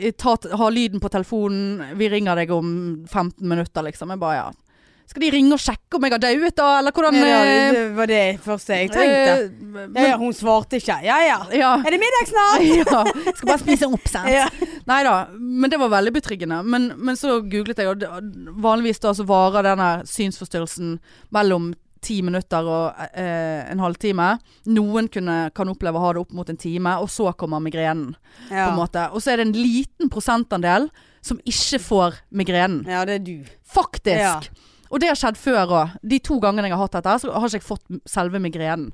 S1: eh, ta, ha lyden på telefonen. Vi ringer deg om 15 minutter, liksom. Jeg bare, ja. Skal de ringe og sjekke om jeg har dauet, da? Eller hvordan
S2: ja,
S1: eh,
S2: det var det første jeg tenkte.
S1: eh,
S2: Ja, ja,
S1: men,
S2: hun svarte ikke. Ja ja.
S1: ja. [LAUGHS]
S2: Er det middag snart?
S1: ja. Skal bare spise opp, sant.
S2: Ja.
S1: Nei da, men det var veldig betryggende. Men, men så googlet jeg, og det- vanligvis da så varer denne synsforstyrrelsen mellom ti minutter og eh, en halvtime. Noen kunne, kan oppleve å ha det opp mot en time, og så kommer migrenen. på
S2: Ja.
S1: en måte. Og så er det en liten prosentandel som ikke får migrenen.
S2: ja, det er du.
S1: Faktisk.
S2: Ja.
S1: Og det har skjedd før òg. De to gangene jeg har hatt dette, så har ikke jeg fått m- selve migrenen.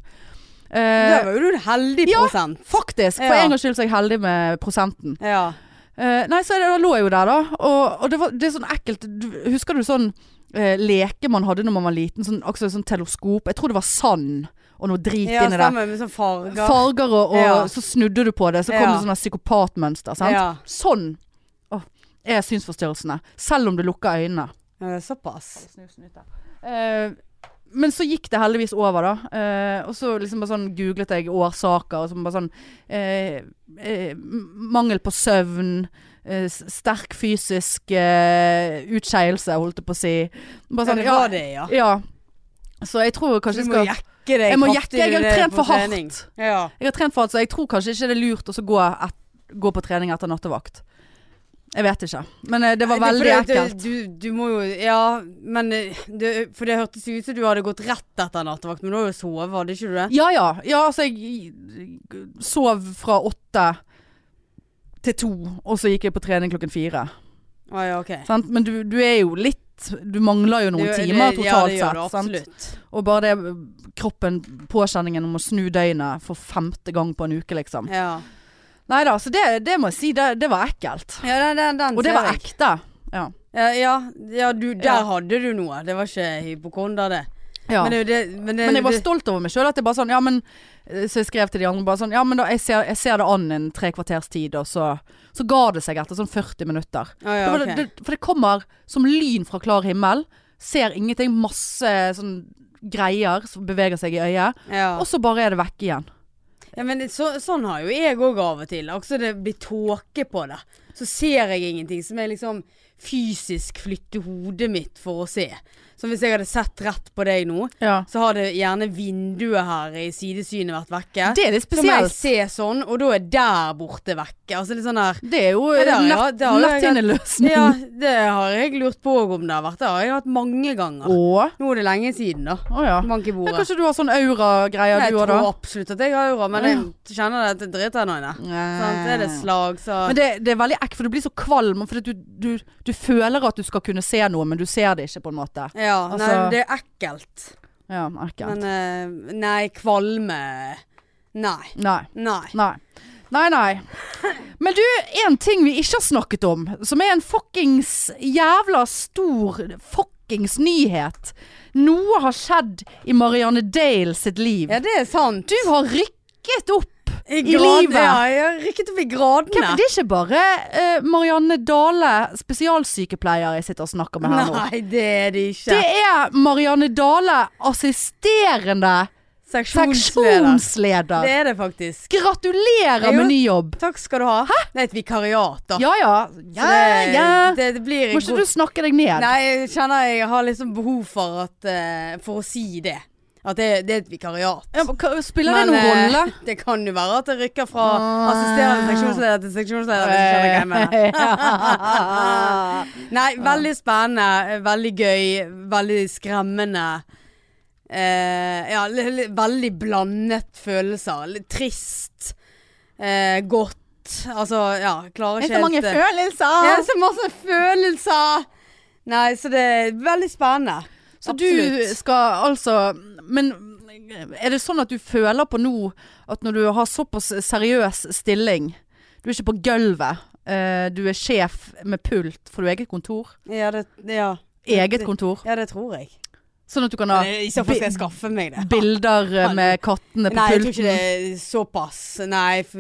S2: Der
S1: Eh,
S2: var jo du en heldig
S1: Ja.
S2: prosent.
S1: faktisk. For
S2: Ja.
S1: en gangs skyld så er jeg heldig med prosenten.
S2: Ja.
S1: Eh, nei, så er det, da lå jeg jo der da Og, og det, var, det er sånn ekkelt du, Husker du sånn eh, leke man hadde når man var liten sånn, Akkurat sånn teleskop Jeg tror det var sand og noe drit
S2: Ja,
S1: inni det.
S2: stemmer. Med sånn farger.
S1: Farger og, og
S2: Ja.
S1: så snudde du på det, så kom
S2: Ja.
S1: det sånne psykopatmønster. Sant?
S2: Ja.
S1: Sånn Åh, er synsforstyrrelsene. Selv om du lukker øynene.
S2: Ja, Såpass.
S1: Eh, men så gikk det heldigvis over, da. Eh, og så liksom bare sånn googlet jeg årsaker, og så bare sånn eh, eh, m- Mangel på søvn. eh, s- sterk fysisk eh, utskeielse, holdt jeg på å si. Bare
S2: Ja,
S1: sånn,
S2: det var det, ja.
S1: ja. Så jeg tror
S2: Du
S1: kanskje jeg
S2: må
S1: skal
S2: jekke deg
S1: Jeg må
S2: kraftig
S1: jekke, jeg har
S2: ned
S1: trent
S2: på
S1: for hardt.
S2: trening. Ja.
S1: Jeg har trent for alt, så jeg tror kanskje ikke det er lurt å så gå, et, gå på trening etter nattevakt. Jeg vet ikke. Men eh, det var
S2: Nei,
S1: veldig
S2: fordi at det-
S1: ekkelt.
S2: Du, du må jo Ja, men eh, det, For det hørtes jo ut som du hadde gått rett etter nattevakt, men du har jo sovet, hadde ikke du det?
S1: Ja ja. ja altså, jeg sov fra åtte til to, og så gikk jeg på trening klokken fire.
S2: Å ja, OK.
S1: Sant? Men du, du er jo litt Du mangler jo noen
S2: Det- det-
S1: timer totalt
S2: ja, det gjør
S1: sett.
S2: du
S1: Sant?
S2: absolutt.
S1: Og bare det kroppen, påkjenningen om å snu døgnet for femte gang på en uke, liksom.
S2: Ja.
S1: Nei da, så det, det må jeg si, det, det var ekkelt.
S2: ja, den, den, den
S1: Og det
S2: ser
S1: var
S2: jeg.
S1: ekte. Ja.
S2: Ja, ja, ja du, der
S1: Ja.
S2: hadde du noe. Det var ikke hypokonder, det.
S1: ja.
S2: Men, det, er jo det, men, det,
S1: Men jeg var
S2: det-
S1: stolt over meg sjøl. Sånn, ja, men- så jeg skrev til de andre bare sånn Ja, men da, jeg ser, jeg ser det an en tre kvarters tid, og så, så ga det seg etter sånn 40 minutter.
S2: Å, ja,
S1: Da var
S2: ok.
S1: det, det, for det kommer som lyn fra klar himmel. Ser ingenting. Masse sånn greier som beveger seg i øyet.
S2: ja.
S1: Og så bare er det vekk igjen.
S2: Ja, men det- så, sånn har jo jeg òg av og til. Også det blir tåke på det. Så ser jeg ingenting som jeg liksom fysisk flytter hodet mitt for å se. Som hvis jeg hadde sett rett på deg nå,
S1: Ja.
S2: så hadde gjerne vinduet her i sidesynet vært vekke.
S1: Det er litt
S2: så må jeg
S1: spesielt.
S2: se sånn, og da er der borte vekke. Altså litt sånn der
S1: Det er jo
S2: Ja, det har jeg-
S1: lett,
S2: det har jeg-
S1: lett inn i løsning.
S2: Ja, det har jeg lurt på òg om det har vært. Det har jeg hatt mange ganger.
S1: Å,
S2: Nå er det lenge siden, da.
S1: å ja.
S2: Bank i
S1: ja.
S2: bordet.
S1: Kanskje du har sånn aura-greier
S2: Nei, jeg
S1: du òg,
S2: tror
S1: da?
S2: absolutt at jeg har aura, men jeg kjenner det at det driter jeg nå i. Sant? Er sånn. det slag, så
S1: Men det, det er veldig ekkelt, for du blir så kvalm. For at du, du, du føler at du skal kunne se noe, men du ser det ikke, på en måte.
S2: Ja,
S1: Altså-
S2: nei, det er ekkelt.
S1: Ja, ekkelt.
S2: Men eh, nei, kvalme Nei.
S1: Nei.
S2: Nei.
S1: Nei. Nei, nei. Men du, en ting vi ikke har snakket om, som er en fuckings jævla stor fuckings nyhet. Noe har skjedd i Marianne Dale sitt liv.
S2: Ja, det er sant.
S1: Du har rykket opp.
S2: I,
S1: livet.
S2: Ja, jeg har rykket opp i
S1: Hvem,
S2: gradene.
S1: det er ikke bare eh, Marianne Dale, spesialsykepleier, jeg sitter og snakker med her nå.
S2: Nei, det er det ikke.
S1: Det er Marianne Dale, assisterende
S2: Seksjonsleder. Det
S1: seksjonsleder.
S2: er det faktisk.
S1: Gratulerer
S2: Jo.
S1: med ny jobb.
S2: Takk skal du ha. Det er et vikariat, da.
S1: Ja ja.
S2: Så
S1: ja,
S2: det,
S1: ja.
S2: Det, det blir
S1: Må ikke du snakke deg ned?
S2: Nei, jeg kjenner jeg har liksom behov for, at, eh, for å si det. At det, det er et vikariat.
S1: Ja, men hva- Spiller det noen
S2: eh,
S1: rolle? [LAUGHS]
S2: det kan jo være at det rykker fra
S1: Ah.
S2: assisterende seksjonsleder til seksjonsleder. Hvis du skjønner hva
S1: [LAUGHS]
S2: jeg mener.
S1: eh,
S2: Nei, veldig spennende, eh, veldig gøy, veldig skremmende. Eh, ja, li- li- veldig blandet følelser. Litt trist. Eh, godt. Altså, ja, klarer
S1: Det
S2: ikke
S1: er så mange
S2: helt, eh,
S1: følelser.
S2: Ja, så masse følelser. Nei, så det er veldig spennende.
S1: Så du skal altså Men er det sånn at du føler på nå at når du har såpass seriøs stilling Du er ikke på gulvet. eh, du er sjef med pult, for du har eget kontor.
S2: ja det, ja.
S1: Eget kontor.
S2: ja, det tror jeg.
S1: Sånn at du kan ha
S2: I så fall skal jeg skaffe meg det.
S1: bilder eh, med kattene på
S2: Nei, jeg tror ikke
S1: pulten.
S2: det er såpass. Nei, for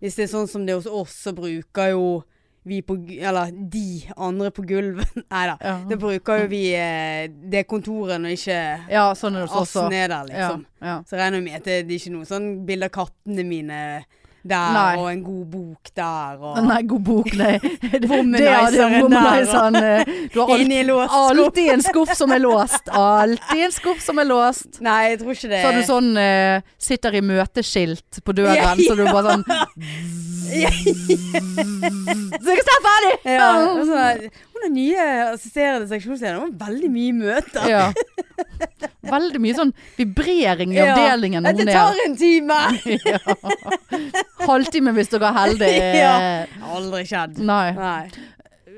S2: hvis det er sånn som det er hos oss, så bruker jo vi på gu- Eller de andre på gulvet. [LAUGHS] Nei da.
S1: Ja.
S2: Det bruker jo vi eh, det kontoret når ikke
S1: ja, sånn er det hos oss
S2: Assen
S1: også.
S2: er der,
S1: Ja,
S2: liksom.
S1: ja.
S2: Så regner jeg med at det, det er ikke noe sånn bilde av kattene mine der,
S1: Nei.
S2: og en god bok der, og
S1: Nei, god bok,
S2: [LAUGHS]
S1: nei. Det- det
S2: Womanizeren
S1: er det,
S2: der,
S1: womanizeren, eh, Du har alt-
S2: Inn i låtskåp.
S1: alltid en skuff som er låst. Alltid en skuff som er låst.
S2: [LAUGHS] Nei, jeg tror ikke det.
S1: Så har du sånn eh, sitter i møteskilt på døren,
S2: Ja,
S1: så du bare sånn
S2: [LAUGHS] Ja.
S1: Så jeg snart ferdig!
S2: Ja,
S1: [LAUGHS]
S2: og så er- hun er nye assisterende seksjonsleder. Hun har veldig mye møter.
S1: Ja. Veldig mye sånn vibrering i
S2: Ja.
S1: avdelingen
S2: Dette
S1: hun
S2: tar
S1: er.
S2: en time!
S1: Ja. Halvtime hvis dere er heldige.
S2: [LAUGHS] Ja. Aldri skjedd.
S1: Nei.
S2: Nei.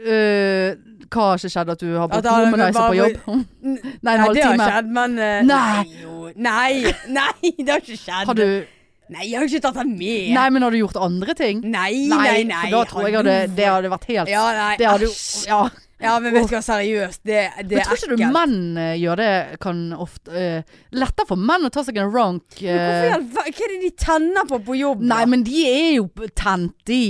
S1: Eh, hva har ikke skjedd at du har
S2: At
S1: brukt
S2: han
S1: womanizer
S2: bare-
S1: på jobb? [LAUGHS]
S2: N-
S1: Nei, en
S2: Nei, det har
S1: halvtime.
S2: skjedd, men eh,
S1: Nei.
S2: jo. Nei, [LAUGHS] nei, det har ikke skjedd.
S1: Har du
S2: Nei, jeg har ikke tatt den med.
S1: Nei, men har du gjort andre ting?
S2: nei, nei. nei,
S1: for da tror jeg
S2: hallo.
S1: hadde, det hadde vært helt
S2: Ja, nei,
S1: Det hadde jo
S2: æsj.
S1: Ja.
S2: Ja, men vet du hva, seriøst, det, det
S1: Men
S2: er
S1: tror ikke du
S2: ekkelt.
S1: menn eh, gjør det kan ofte eh, Lettere for menn å ta seg en rank
S2: Hvorfor
S1: eh,
S2: i all ver- Hva er det de tenner på på jobb?
S1: Nei,
S2: da?
S1: men de er jo tent, de.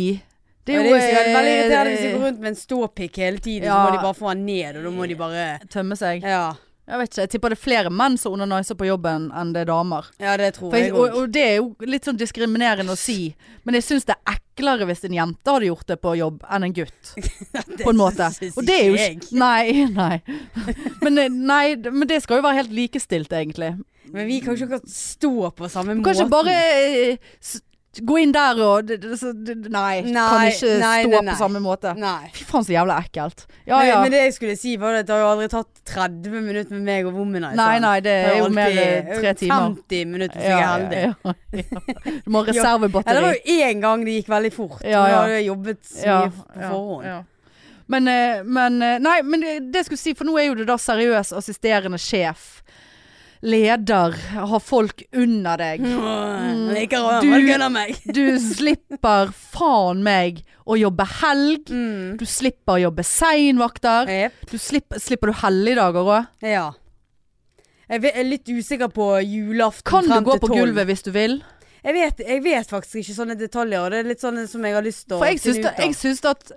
S2: det er jo sikkert veldig
S1: eh,
S2: irriterende hvis de går rundt med en ståpikk hele tiden, så
S1: Ja.
S2: må de bare få den ned, og da må de bare
S1: Tømme seg.
S2: Ja,
S1: Jeg vet ikke, jeg tipper det er flere menn som onaniser på jobben enn det er damer.
S2: ja det tror
S1: For jeg,
S2: jeg
S1: og,
S2: òg.
S1: og det er jo litt sånn diskriminerende å si, men jeg syns det er eklere hvis en jente hadde gjort det på jobb enn en gutt.
S2: [LAUGHS]
S1: på en måte. Og det er jo ikke Nei, [LAUGHS] nei. Men, eh, nei. d- men det skal jo være helt likestilt, egentlig.
S2: Men vi kan jo ikke akkurat stå på samme
S1: Du
S2: måte.
S1: kan ikke bare eh, s- gå inn der og d- d- så- d- d- Nei. Kan
S2: Nei,
S1: ikke
S2: nei,
S1: stå
S2: nei, nei.
S1: på samme måte.
S2: Nei.
S1: Fy faen, så jævla ekkelt. Ja
S2: Men-
S1: ja.
S2: Men det jeg skulle si var at det har jo aldri tatt 30 minutter med meg og Womanizer.
S1: Nei nei, det er jo
S2: alltid
S1: mer eh, tre timer.
S2: 50 minutter hvis jeg er
S1: Ja,
S2: heldig.
S1: ja, ja, ja. Du må ha
S2: [LAUGHS] Ja, det var
S1: reservebatteri.
S2: jo én gang det gikk veldig fort.
S1: Ja,
S2: men Da
S1: ja.
S2: hadde jeg jobbet så mye
S1: Ja,
S2: på
S1: ja,
S2: forhånd.
S1: ja. Men, eh, men eh, Nei, men det, det jeg skulle si, for nå er jo du da seriøs assisterende sjef. Leder. Har folk under deg.
S2: Mm. [LAUGHS] Jeg kan
S1: Du-
S2: røre gunner meg. [LAUGHS]
S1: Du slipper faen meg å jobbe helg.
S2: Mm.
S1: Du slipper å jobbe seinvakter.
S2: Jep.
S1: Du slipper, slipper du helligdager òg?
S2: Ja. Jeg ve- jeg er litt usikker på julaften
S1: Kan du
S2: frem
S1: gå
S2: til
S1: på
S2: 12.
S1: gulvet hvis du vil?
S2: Jeg vet, jeg vet faktisk ikke sånne detaljer. og Det er litt sånn som jeg har lyst til å
S1: For jeg syns,
S2: finne
S1: da,
S2: ut av.
S1: jeg, syns at,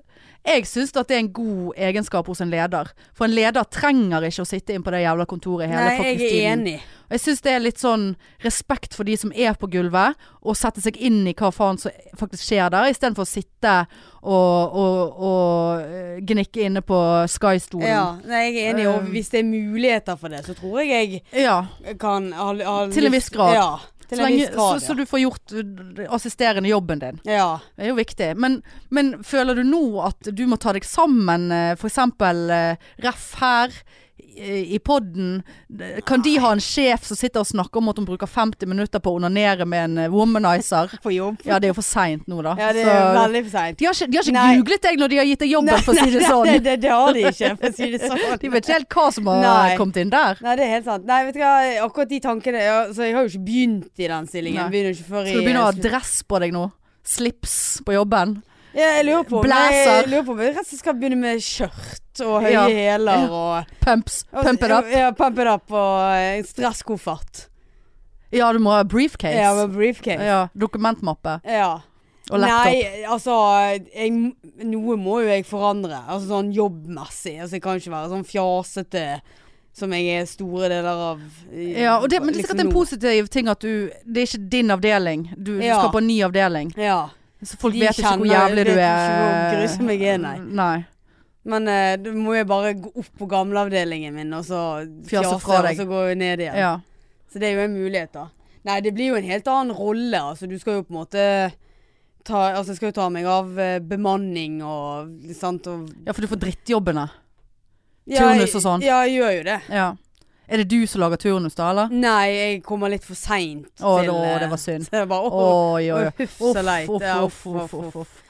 S1: jeg syns at det er en god egenskap hos en leder. For en leder trenger ikke å sitte inn på det jævla kontoret hele
S2: Nei,
S1: fuckings
S2: jeg er
S1: tiden.
S2: enig.
S1: Og Jeg syns det er litt sånn respekt for de som er på gulvet, og sette seg inn i hva faen som faktisk skjer der, istedenfor å sitte og, og, og eh, gnikke inne på Sky-stolen.
S2: Ja, nei, jeg er enig. Og
S1: Um,
S2: hvis det er muligheter for det, så tror jeg
S1: Ja,
S2: jeg kan ha, ha
S1: Til en
S2: lyst-
S1: viss grad.
S2: Ja. Til
S1: så,
S2: en
S1: lenge,
S2: viss grad,
S1: så, så du får gjort eh, assisterende jobben din.
S2: ja. ja.
S1: Det er jo viktig. Men, men føler du nå at du må ta deg sammen, eh, for eksempel eh, ref her eh, i podden? Kan de ha en sjef som sitter og snakker om at hun bruker 50 minutter på å onanere med en eh, womanizer?
S2: På jobb.
S1: Ja, det er jo for seint nå, da.
S2: Ja, det er
S1: Så-
S2: veldig for seint.
S1: de har ikke, de har ikke
S2: Nei.
S1: googlet deg når de har gitt deg jobben,
S2: Nei,
S1: for å si det
S2: [LAUGHS] nei,
S1: sånn.
S2: Det, det, det har de ikke, for å si
S1: [LAUGHS]
S2: det sånn.
S1: De vet ikke helt hva som har
S2: Nei.
S1: kommet inn der.
S2: Nei, det er helt sant. Nei, vet du hva, akkurat de tankene ja, Så jeg har jo ikke begynt i den stillingen.
S1: Nei.
S2: Begynner ikke før i
S1: Skal du begynne å ha dress på deg nå? Slips på jobben?
S2: Ja, jeg lurer på om jeg,
S1: Blazer.
S2: lurer på om jeg rett og slett skal begynne med skjørt og høye
S1: Ja.
S2: hæler og,
S1: Pumps?
S2: og
S1: Pump it up?
S2: Ja, pump it up og eh, stresskoffert.
S1: Ja, du må ha briefcase.
S2: Ja,
S1: Ja,
S2: med briefcase.
S1: Dokumentmappe
S2: ja.
S1: og laptop.
S2: Nei, altså jeg, Noe må jo jeg forandre. Altså sånn jobbmessig. Altså Jeg kan ikke være sånn fjasete som jeg er store deler av. i-
S1: Ja, og det, men det er
S2: liksom
S1: sikkert en
S2: nå.
S1: positiv ting at du Det er ikke din avdeling. Du, du
S2: Ja.
S1: skal på en ny avdeling.
S2: Ja.
S1: Så folk
S2: De
S1: vet ikke hvor
S2: kjenner-
S1: jævlig
S2: vet
S1: du
S2: ikke
S1: er.
S2: hvor grusom jeg er, nei. Men eh, da må jeg bare gå opp på gamleavdelingen min, og så
S1: Fjase
S2: fjase,
S1: fra
S2: og
S1: deg.
S2: så gå ned igjen.
S1: Ja.
S2: Så det er jo en mulighet, da. Nei, det blir jo en helt annen rolle. Altså, du skal jo på en måte ta Altså, jeg skal jo ta meg av eh, bemanning og sant og
S1: ja, for du får drittjobbene.
S2: Ja,
S1: Turnus og sånn.
S2: Ja, jeg gjør jo det.
S1: Ja. Er det du som lager turnus, da, eller?
S2: Nei, jeg kommer litt for seint
S1: Å,
S2: til
S1: å,
S2: eh,
S1: det var
S2: [LAUGHS]
S1: synd.
S2: Så jeg bare, åh,
S1: Oi, oi, oi.
S2: Huff,
S1: Uff,
S2: så leit.
S1: uff,
S2: Ja,
S1: uff, uff, uff, uff.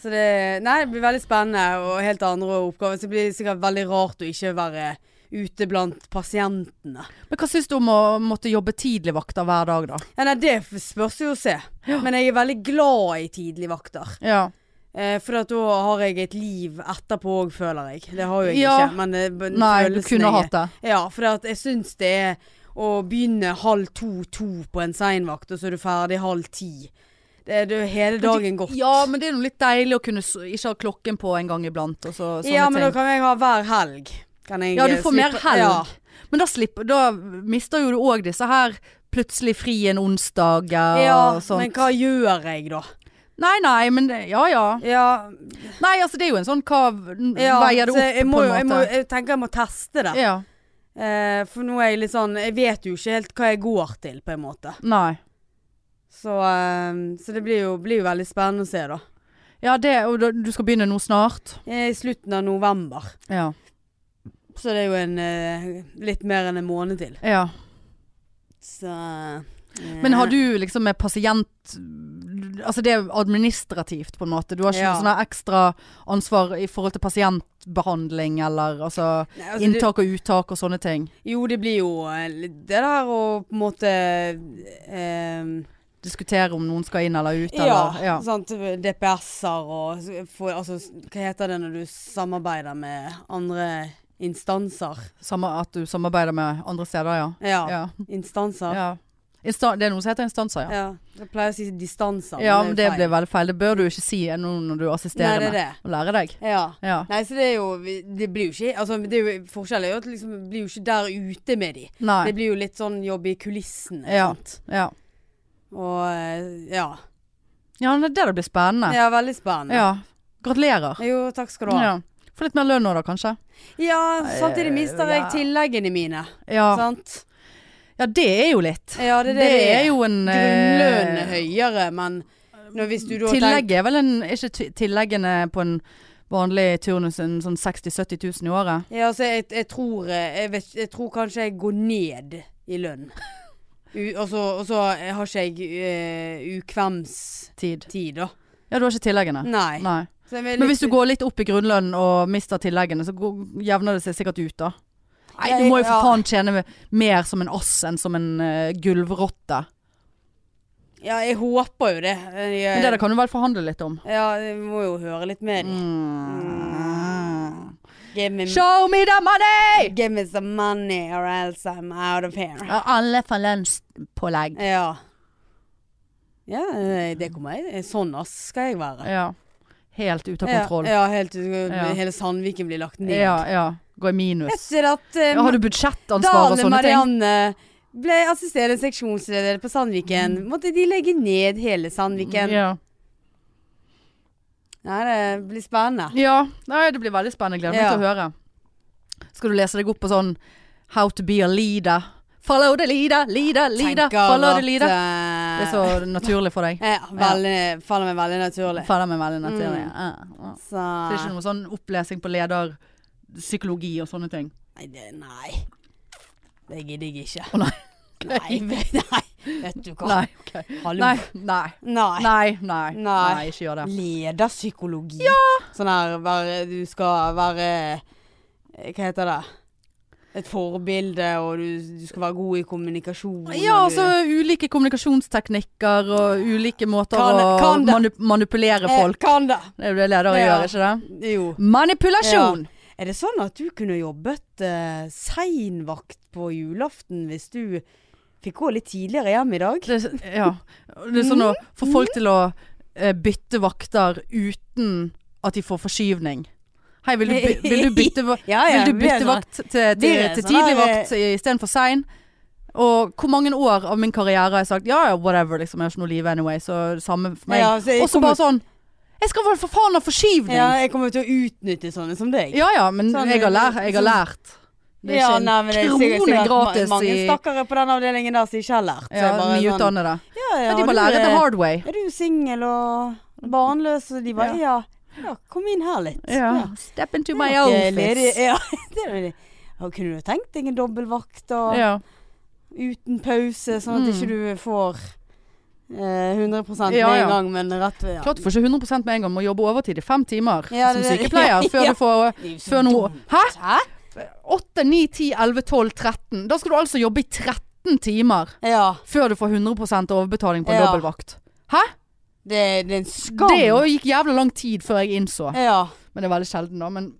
S2: Så det, nei, det blir veldig spennende og helt andre oppgaver. Så det blir sikkert veldig rart å ikke være ute blant pasientene.
S1: Men hva syns du om å måtte jobbe tidligvakter hver dag, da?
S2: Ja, nei, det spørs jo å se. Men jeg er veldig glad i tidligvakter.
S1: Ja.
S2: Eh, for at da har jeg et liv etterpå òg, føler jeg. Det har jo jeg
S1: Ja.
S2: ikke, men det, b-
S1: Nei, du
S2: følelsen
S1: kunne
S2: jeg-
S1: hatt det.
S2: Ja, for at jeg syns det er å begynne halv to-to på en seinvakt, og så er du ferdig halv ti. Det er det er jo hele dagen gått.
S1: Ja, men det er jo litt deilig å kunne s- ikke ha klokken på en gang iblant og så, sånne
S2: Ja, men da
S1: ting.
S2: kan jeg ha hver helg. Kan jeg
S1: Ja, du
S2: eh,
S1: får
S2: slippe-
S1: mer helg.
S2: Ja.
S1: Men da slipper Da mister jo du òg disse her plutselig fri en onsdag eh,
S2: Ja,
S1: og sånn.
S2: men hva gjør jeg da?
S1: Nei, nei, men det- Ja ja.
S2: Ja,
S1: Nei, altså det er jo en sånn hva
S2: ja
S1: Veier det
S2: så
S1: opp,
S2: jeg må,
S1: på
S2: jo- Jeg,
S1: en
S2: må,
S1: måte.
S2: jeg tenker jeg må teste det.
S1: Ja.
S2: Eh, for nå er jeg litt sånn Jeg vet jo ikke helt hva jeg går til, på en måte.
S1: Nei.
S2: Så, eh, så det blir jo, blir jo veldig spennende å se, da.
S1: Ja, det Og da- du skal begynne nå snart?
S2: Eh, I slutten av november.
S1: Ja.
S2: Så det er jo en eh, litt mer enn en måned til.
S1: ja.
S2: Så eh,
S1: Men har du liksom med pasient Altså det er administrativt på en måte. Du har ikke
S2: Ja.
S1: noe sånn her ekstra ansvar i forhold til pasientbehandling eller altså,
S2: Nei, altså, det-
S1: inntak og uttak og sånne ting.
S2: Jo, det blir jo eh, litt det der å på en måte eh,
S1: diskutere om noen skal inn eller ut,
S2: Ja,
S1: eller ja.
S2: sant. DPS-er og s- få- altså, s- Hva heter det når du samarbeider med andre instanser?
S1: Samme, at du samarbeider med andre steder, ja.
S2: Ja.
S1: ja.
S2: Instanser. Ja.
S1: ja. Insta det er noe som heter instanser, ja.
S2: Jeg pleier å si distanser.
S1: Ja, men det
S2: feil.
S1: ble veldig feil. Det bør du ikke si nå når du
S2: Nei,
S1: assisterer
S2: det
S1: meg.
S2: er det.
S1: Og lære deg.
S2: Ja.
S1: Ja.
S2: Nei, så det er jo vi- Det blir jo ikke altså, det er jo, Forskjellen er jo at liksom, det blir jo ikke der ute med de. Det
S1: Nei.
S2: blir jo litt sånn jobb i kulissene.
S1: Ja.
S2: Sant?
S1: Ja.
S2: Og eh, ja.
S1: ja, men det er det det blir spennende.
S2: Ja, veldig spennende.
S1: Ja. Gratulerer.
S2: Jo, takk skal du ha.
S1: Ja. Få litt mer lønn nå da, kanskje.
S2: Ja, samtidig mister jeg
S1: Ja.
S2: tilleggene mine.
S1: Ja.
S2: Sant?
S1: ja, det er jo litt.
S2: Ja, det er det
S1: Det er jo en eh,
S2: Grunnlønn er høyere, men når, hvis du da
S1: Tillegget er vel en er Ikke ti- tilleggene på en vanlig turnus en sånn 60 000-70 000 i året?
S2: tenker- Ja, altså, jeg, jeg tror eh, jeg, vet, jeg tror kanskje jeg går ned i lønn. U- Og så og så har ikke jeg eh, ukvemstid,
S1: Tid.
S2: da.
S1: Ja, du har ikke tilleggene?
S2: Nei.
S1: Nei.
S2: Så jeg vil
S1: Men
S2: litt-
S1: hvis du går litt opp i grunnlønnen og mister tilleggene, så går- jevner det seg sikkert ut da. Nei, du
S2: Jeg-
S1: må jo for
S2: ja.
S1: faen tjene mer som en ass enn som en uh, gulvrotte.
S2: Ja, jeg håper jo det. Jeg, eh,
S1: Men det der kan du vel forhandle litt om.
S2: Ja, jeg må jo høre litt med dem.
S1: Mm.
S2: Give, me-
S1: Show me the money!
S2: give me some money or else I'm out of here.
S1: Ja, alle får lønnspålegg.
S2: Ja. Ja, eh, det kommer jeg. Sånn ass skal jeg være.
S1: Ja. Helt ute av kontroll.
S2: Ja, ja, helt, eh,
S1: Ja.
S2: hele Sandviken blir lagt ned.
S1: Ja, ja. Gå i minus.
S2: Etter at eh,
S1: Ja, har du budsjettansvar og
S2: Dale
S1: sånne ting?
S2: Marianne ble assisterende seksjonsleder på Sandviken, måtte de legge ned hele Sandviken.
S1: Mm. Ja.
S2: Nei, det blir spennende.
S1: ja. Nei, det blir veldig spennende. Gleder meg
S2: Ja.
S1: til å høre. Skal du lese deg opp på sånn How to be a leader? Follow the leader, leader, leader. Follow the leader. Det er
S2: eh,
S1: så naturlig for
S2: [LAUGHS]
S1: deg.
S2: ja, veldig, faller meg veldig naturlig.
S1: Faller meg veldig naturlig.
S2: Mm.
S1: Ja, ja.
S2: Så
S1: Så Det er ikke noe sånn opplesing på lederpsykologi og sånne ting.
S2: Nei, det, nei. det gidder jeg ikke.
S1: Å, nei.
S2: Nei, [LAUGHS] vet- nei, vet du hva.
S1: Nei. ok.
S2: Hallo.
S1: Nei. Nei.
S2: Nei.
S1: Nei, nei,
S2: Nei.
S1: nei, ikke gjør det.
S2: Lederpsykologi. Sånn her være, du skal være eh, Hva heter det? Et forbilde, og du, du skal være god i kommunikasjon. og
S1: Ja,
S2: du-
S1: altså ulike kommunikasjonsteknikker og ulike måter
S2: Kan- kan
S1: å
S2: det-
S1: manu manipulere
S2: Eh,
S1: folk.
S2: Kan det!
S1: Det er jo det ledere
S2: ja.
S1: gjør, ikke det?
S2: Jo.
S1: Manipulasjon!
S2: Er det sånn at du kunne jobbet eh, seinvakt på julaften hvis du fikk gå litt tidligere hjem i dag?
S1: Det, er- ja. det er sånn
S2: Mm.
S1: å få folk til å eh, bytte vakter uten at de får forskyvning. Hei, vil du,
S2: [LAUGHS]
S1: by- vil du bytte, va-
S2: Ja, ja,
S1: vil du
S2: vi er
S1: bytte
S2: sånn-
S1: vakt til,
S2: vi
S1: til,
S2: er
S1: til
S2: sånn
S1: tidlig
S2: her, eh,
S1: vakt istedenfor sein? Og hvor mange år av min karriere har jeg sagt ja ja, whatever, liksom, jeg har ikke noe liv anyway, så det samme for meg.
S2: Ja, så jeg
S1: Og så bare
S2: kommer-
S1: sånn Jeg skal vel for faen ha forskyvning!
S2: Ja, jeg kommer til å utnytte sånne som deg.
S1: Ja ja, men
S2: Sånn,
S1: jeg har lært. Jeg har
S2: sånn-
S1: lært. Det er
S2: Ja,
S1: ikke
S2: nei, men det er
S1: en
S2: sikkert-
S1: krone
S2: sikkert ma-
S1: gratis
S2: Mange
S1: i
S2: stakkare på den avdelingen der som ikke har lært. Så
S1: ja,
S2: jeg bare sånn,
S1: nyutdannede.
S2: Ja, ja,
S1: Men de må
S2: du
S1: lære
S2: er-
S1: the hard way.
S2: Er du singel og barnløs? Og de bare ja. ja. kom inn her litt.
S1: Step into
S2: Det
S1: my
S2: er nok, eh, ledig- [LAUGHS]
S1: office.
S2: Ja, det er det. Og kunne du tenkt deg en dobbeltvakt og
S1: Ja.
S2: uten pause, sånn at
S1: Mm.
S2: ikke du får eh, 100 med
S1: Ja, ja.
S2: en gang, men rett ved ja.
S1: Klart du får ikke 100 med en gang, må jobbe overtid i fem timer
S2: Ja,
S1: som
S2: det- [LAUGHS]
S1: sykepleier. Før
S2: ja.
S1: du får
S2: Det er jo så
S1: før noe
S2: dumt.
S1: Hæ?
S2: Hæ?
S1: 8, 9, 10, 11, 12, 13. Da skal du altså jobbe i 13 timer
S2: Ja.
S1: før du får 100 overbetaling på en
S2: Ja.
S1: dobbeltvakt. Hæ?
S2: Det, det er en skam.
S1: Det jo gikk jævla lang tid før jeg innså.
S2: Ja.
S1: Men det er veldig sjelden, da. Men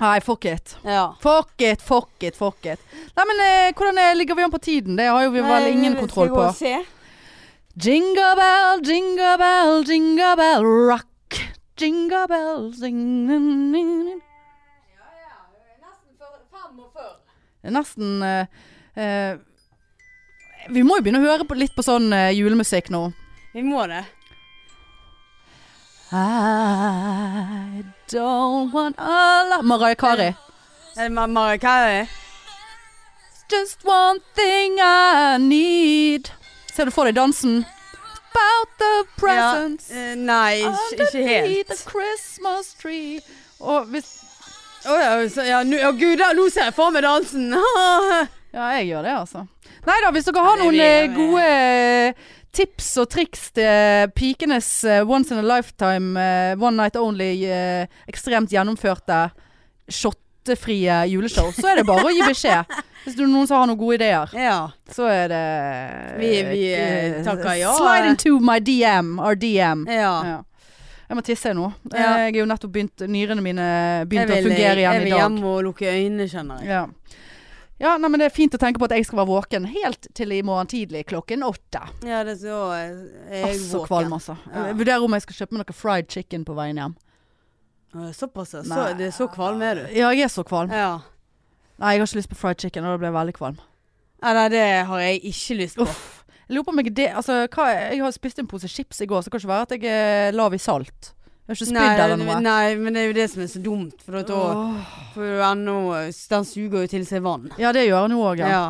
S1: Nei, fuck it.
S2: ja.
S1: Fuck it, fuck it, fuck it. Nei, men eh, hvordan eh, ligger vi an på tiden? Det har jo vi vel
S2: Nei,
S1: ingen
S2: skal
S1: kontroll
S2: jeg gå
S1: på.
S2: og se?
S1: Jingle bell, jingle bell, jingle bell rock. Jingle bell, zing, zing, zing, zing. Det er Nesten eh, eh, Vi må jo begynne å høre på, litt på sånn eh, julemusikk nå.
S2: Vi må det.
S1: I don't want a lot Mariah Kari.
S2: Er det Ma- Mariah Carey?
S1: Just one thing I need. Ser du for deg dansen? About the presents.
S2: Ja. eh, Nei, ikke, ikke
S1: Underneath
S2: helt.
S1: the Christmas tree. Og hvis
S2: Å ja, så, ja, nu, ja, gud, da, nå ser jeg for meg dansen. [LAUGHS]
S1: Ja, jeg gjør det, altså. Nei da, hvis dere har
S2: Nei, det
S1: noen
S2: er vi-
S1: eh, gode eh, tips og triks til pikenes eh, once in a lifetime, eh, one night only, eh, ekstremt gjennomførte shottefrie juleshow, så er det bare å gi beskjed. Hvis det er noen som har noen gode ideer,
S2: Ja.
S1: så er det
S2: Vi- vi, eh, takker ja.
S1: Slide into my DM. Our DM.
S2: ja.
S1: Ja. Jeg må tisse nå. Eh,
S2: Ja.
S1: Jeg er jo nettopp begynt Nyrene mine
S2: Jeg
S1: begynte å
S2: vil-
S1: fungere igjen
S2: Jeg
S1: i
S2: vil
S1: dag.
S2: hjem og lukke øynene, kjenner jeg.
S1: Ja. ja, nei, men det er fint å tenke på at jeg skal være våken helt til i morgen tidlig klokken åtte.
S2: Ja, det er så eh, er jeg
S1: Altså
S2: våken.
S1: kvalm, altså.
S2: Ja.
S1: Jeg vurderer om jeg skal kjøpe meg noe fried chicken på veien hjem.
S2: Å, Såpass, ja. så,
S1: Nei.
S2: det er så kvalm er du.
S1: Ja, jeg er så kvalm.
S2: Ja.
S1: Nei, jeg har ikke lyst på fried chicken, og da ble jeg veldig kvalm.
S2: ja. Nei, det har jeg ikke lyst på.
S1: Uff. Jeg lurer på om jeg det Altså, hva Jeg har spist en pose chips i går, så det kan ikke være at jeg er lav i salt. Jeg har ikke spydd
S2: nei,
S1: eller noe.
S2: nei, men det er jo det som er så dumt. For at da
S1: Åh.
S2: for ennå, den suger jo til seg vann.
S1: Ja, det gjør han jo òg,
S2: Ja.
S1: ja.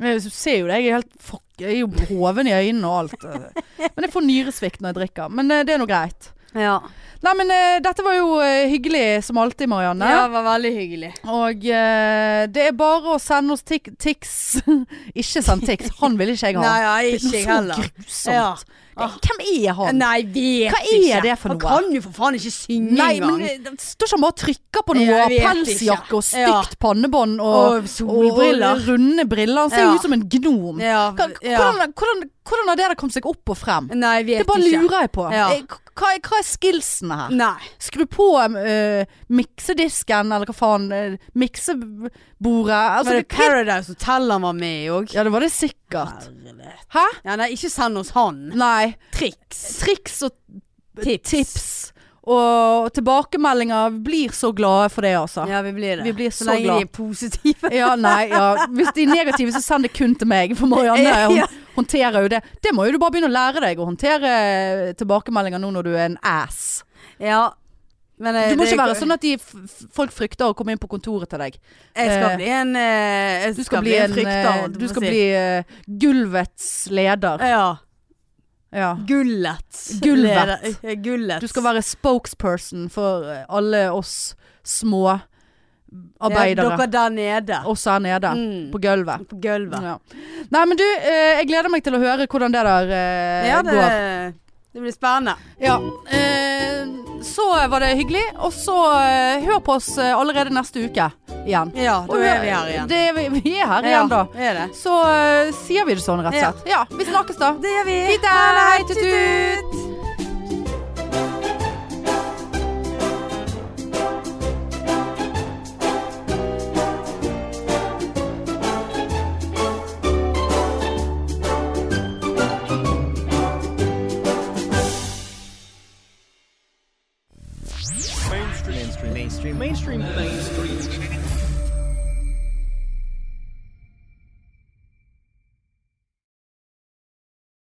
S1: Jeg ser jo det. Jeg er helt fuck, jeg er jo hoven i øynene og
S2: [LAUGHS]
S1: alt. Men jeg får nyresvikt når jeg drikker. Men eh, det er nå greit.
S2: ja.
S1: Nei, men eh, dette var jo eh, hyggelig som alltid, Marianne.
S2: Ja, det var veldig hyggelig.
S1: Og eh, det er bare å sende oss tik tics. [LAUGHS] ikke send tics. Han vil ikke jeg ha.
S2: Nei, jeg,
S1: det
S2: ikke
S1: er
S2: jeg
S1: noe
S2: heller.
S1: så grusomt.
S2: Ja. Ah.
S1: Det, hvem er han?
S2: Nei, vet
S1: Hva er
S2: ikke.
S1: det for noe?
S2: Han kan jo for faen ikke synge
S1: Nei, men
S2: engang.
S1: eh, det står ikke han bare og trykker på noe?
S2: Jeg vet ikke.
S1: Pelsjakke og
S2: Ja.
S1: stygt pannebånd og,
S2: Og
S1: og,
S2: solbriller.
S1: og runde briller. Han ser jo
S2: Ja.
S1: ut som en gnom.
S2: Ja,
S1: Hva-
S2: ja.
S1: Hvordan, hvordan, hvordan har det der kommet seg opp og frem?
S2: Nei, jeg vet
S1: Det bare
S2: ikke.
S1: lurer jeg på.
S2: Ja.
S1: Eh, k- Hva, er- hva er skillsene her?
S2: Nei.
S1: Skru på eh, miksedisken, eller hva faen. eh, miksebordet. Altså,
S2: Var det
S1: det, det,
S2: Paradise Hotel han var med i òg?
S1: ja, det var det sikkert.
S2: Herre.
S1: Hæ?
S2: Ja, nei, ikke send oss han.
S1: Nei.
S2: Triks.
S1: Triks og
S2: Tips.
S1: tips og tilbakemeldinger. Vi blir så glade for det, altså.
S2: Ja, vi blir det.
S1: Vi blir
S2: så,
S1: så
S2: lenge
S1: glad.
S2: de
S1: [LAUGHS]
S2: er positive.
S1: Ja, nei, ja. Hvis de er negative, så send det kun til meg. For [LAUGHS] Marianne
S2: Ja.
S1: hun håndterer jo det. Det må jo du bare begynne å lære deg. Å håndtere eh, tilbakemeldinger nå når du er en ass.
S2: Ja. Men eh,
S1: Det må
S2: det-
S1: ikke være sånn at de, f- f- folk frykter å komme inn på kontoret til deg.
S2: Jeg
S1: eh,
S2: skal bli en eh, Jeg
S1: Du skal bli, en,
S2: frykter,
S1: eh,
S2: holdt jeg
S1: du
S2: på å
S1: skal
S2: si.
S1: bli eh, gulvets leder.
S2: Ja.
S1: Ja.
S2: Gullet.
S1: Gulvet.
S2: Leder- Gullet.
S1: Du skal være spokesperson for eh, alle oss små
S2: Ja,
S1: arbeidere.
S2: dere der nede.
S1: Oss her nede
S2: Mm.
S1: på gulvet.
S2: På gulvet.
S1: Ja. Nei, men du, eh, jeg gleder meg til å høre hvordan det der eh,
S2: Ja, det,
S1: går.
S2: det blir spennende.
S1: Ja. Eh, så var det hyggelig. Og så eh, hør på oss eh, allerede neste uke igjen.
S2: Ja, da
S1: Og
S2: er vi her igjen.
S1: Det, er vi, vi er her igjen, da.
S2: Ja, er det.
S1: Så eh, sier vi det sånn, rett og
S2: Ja.
S1: slett. Ja, vi snakkes da.
S2: Det gjør vi.
S1: Fint, da.
S2: Ha det.
S1: Hei, tut-tut.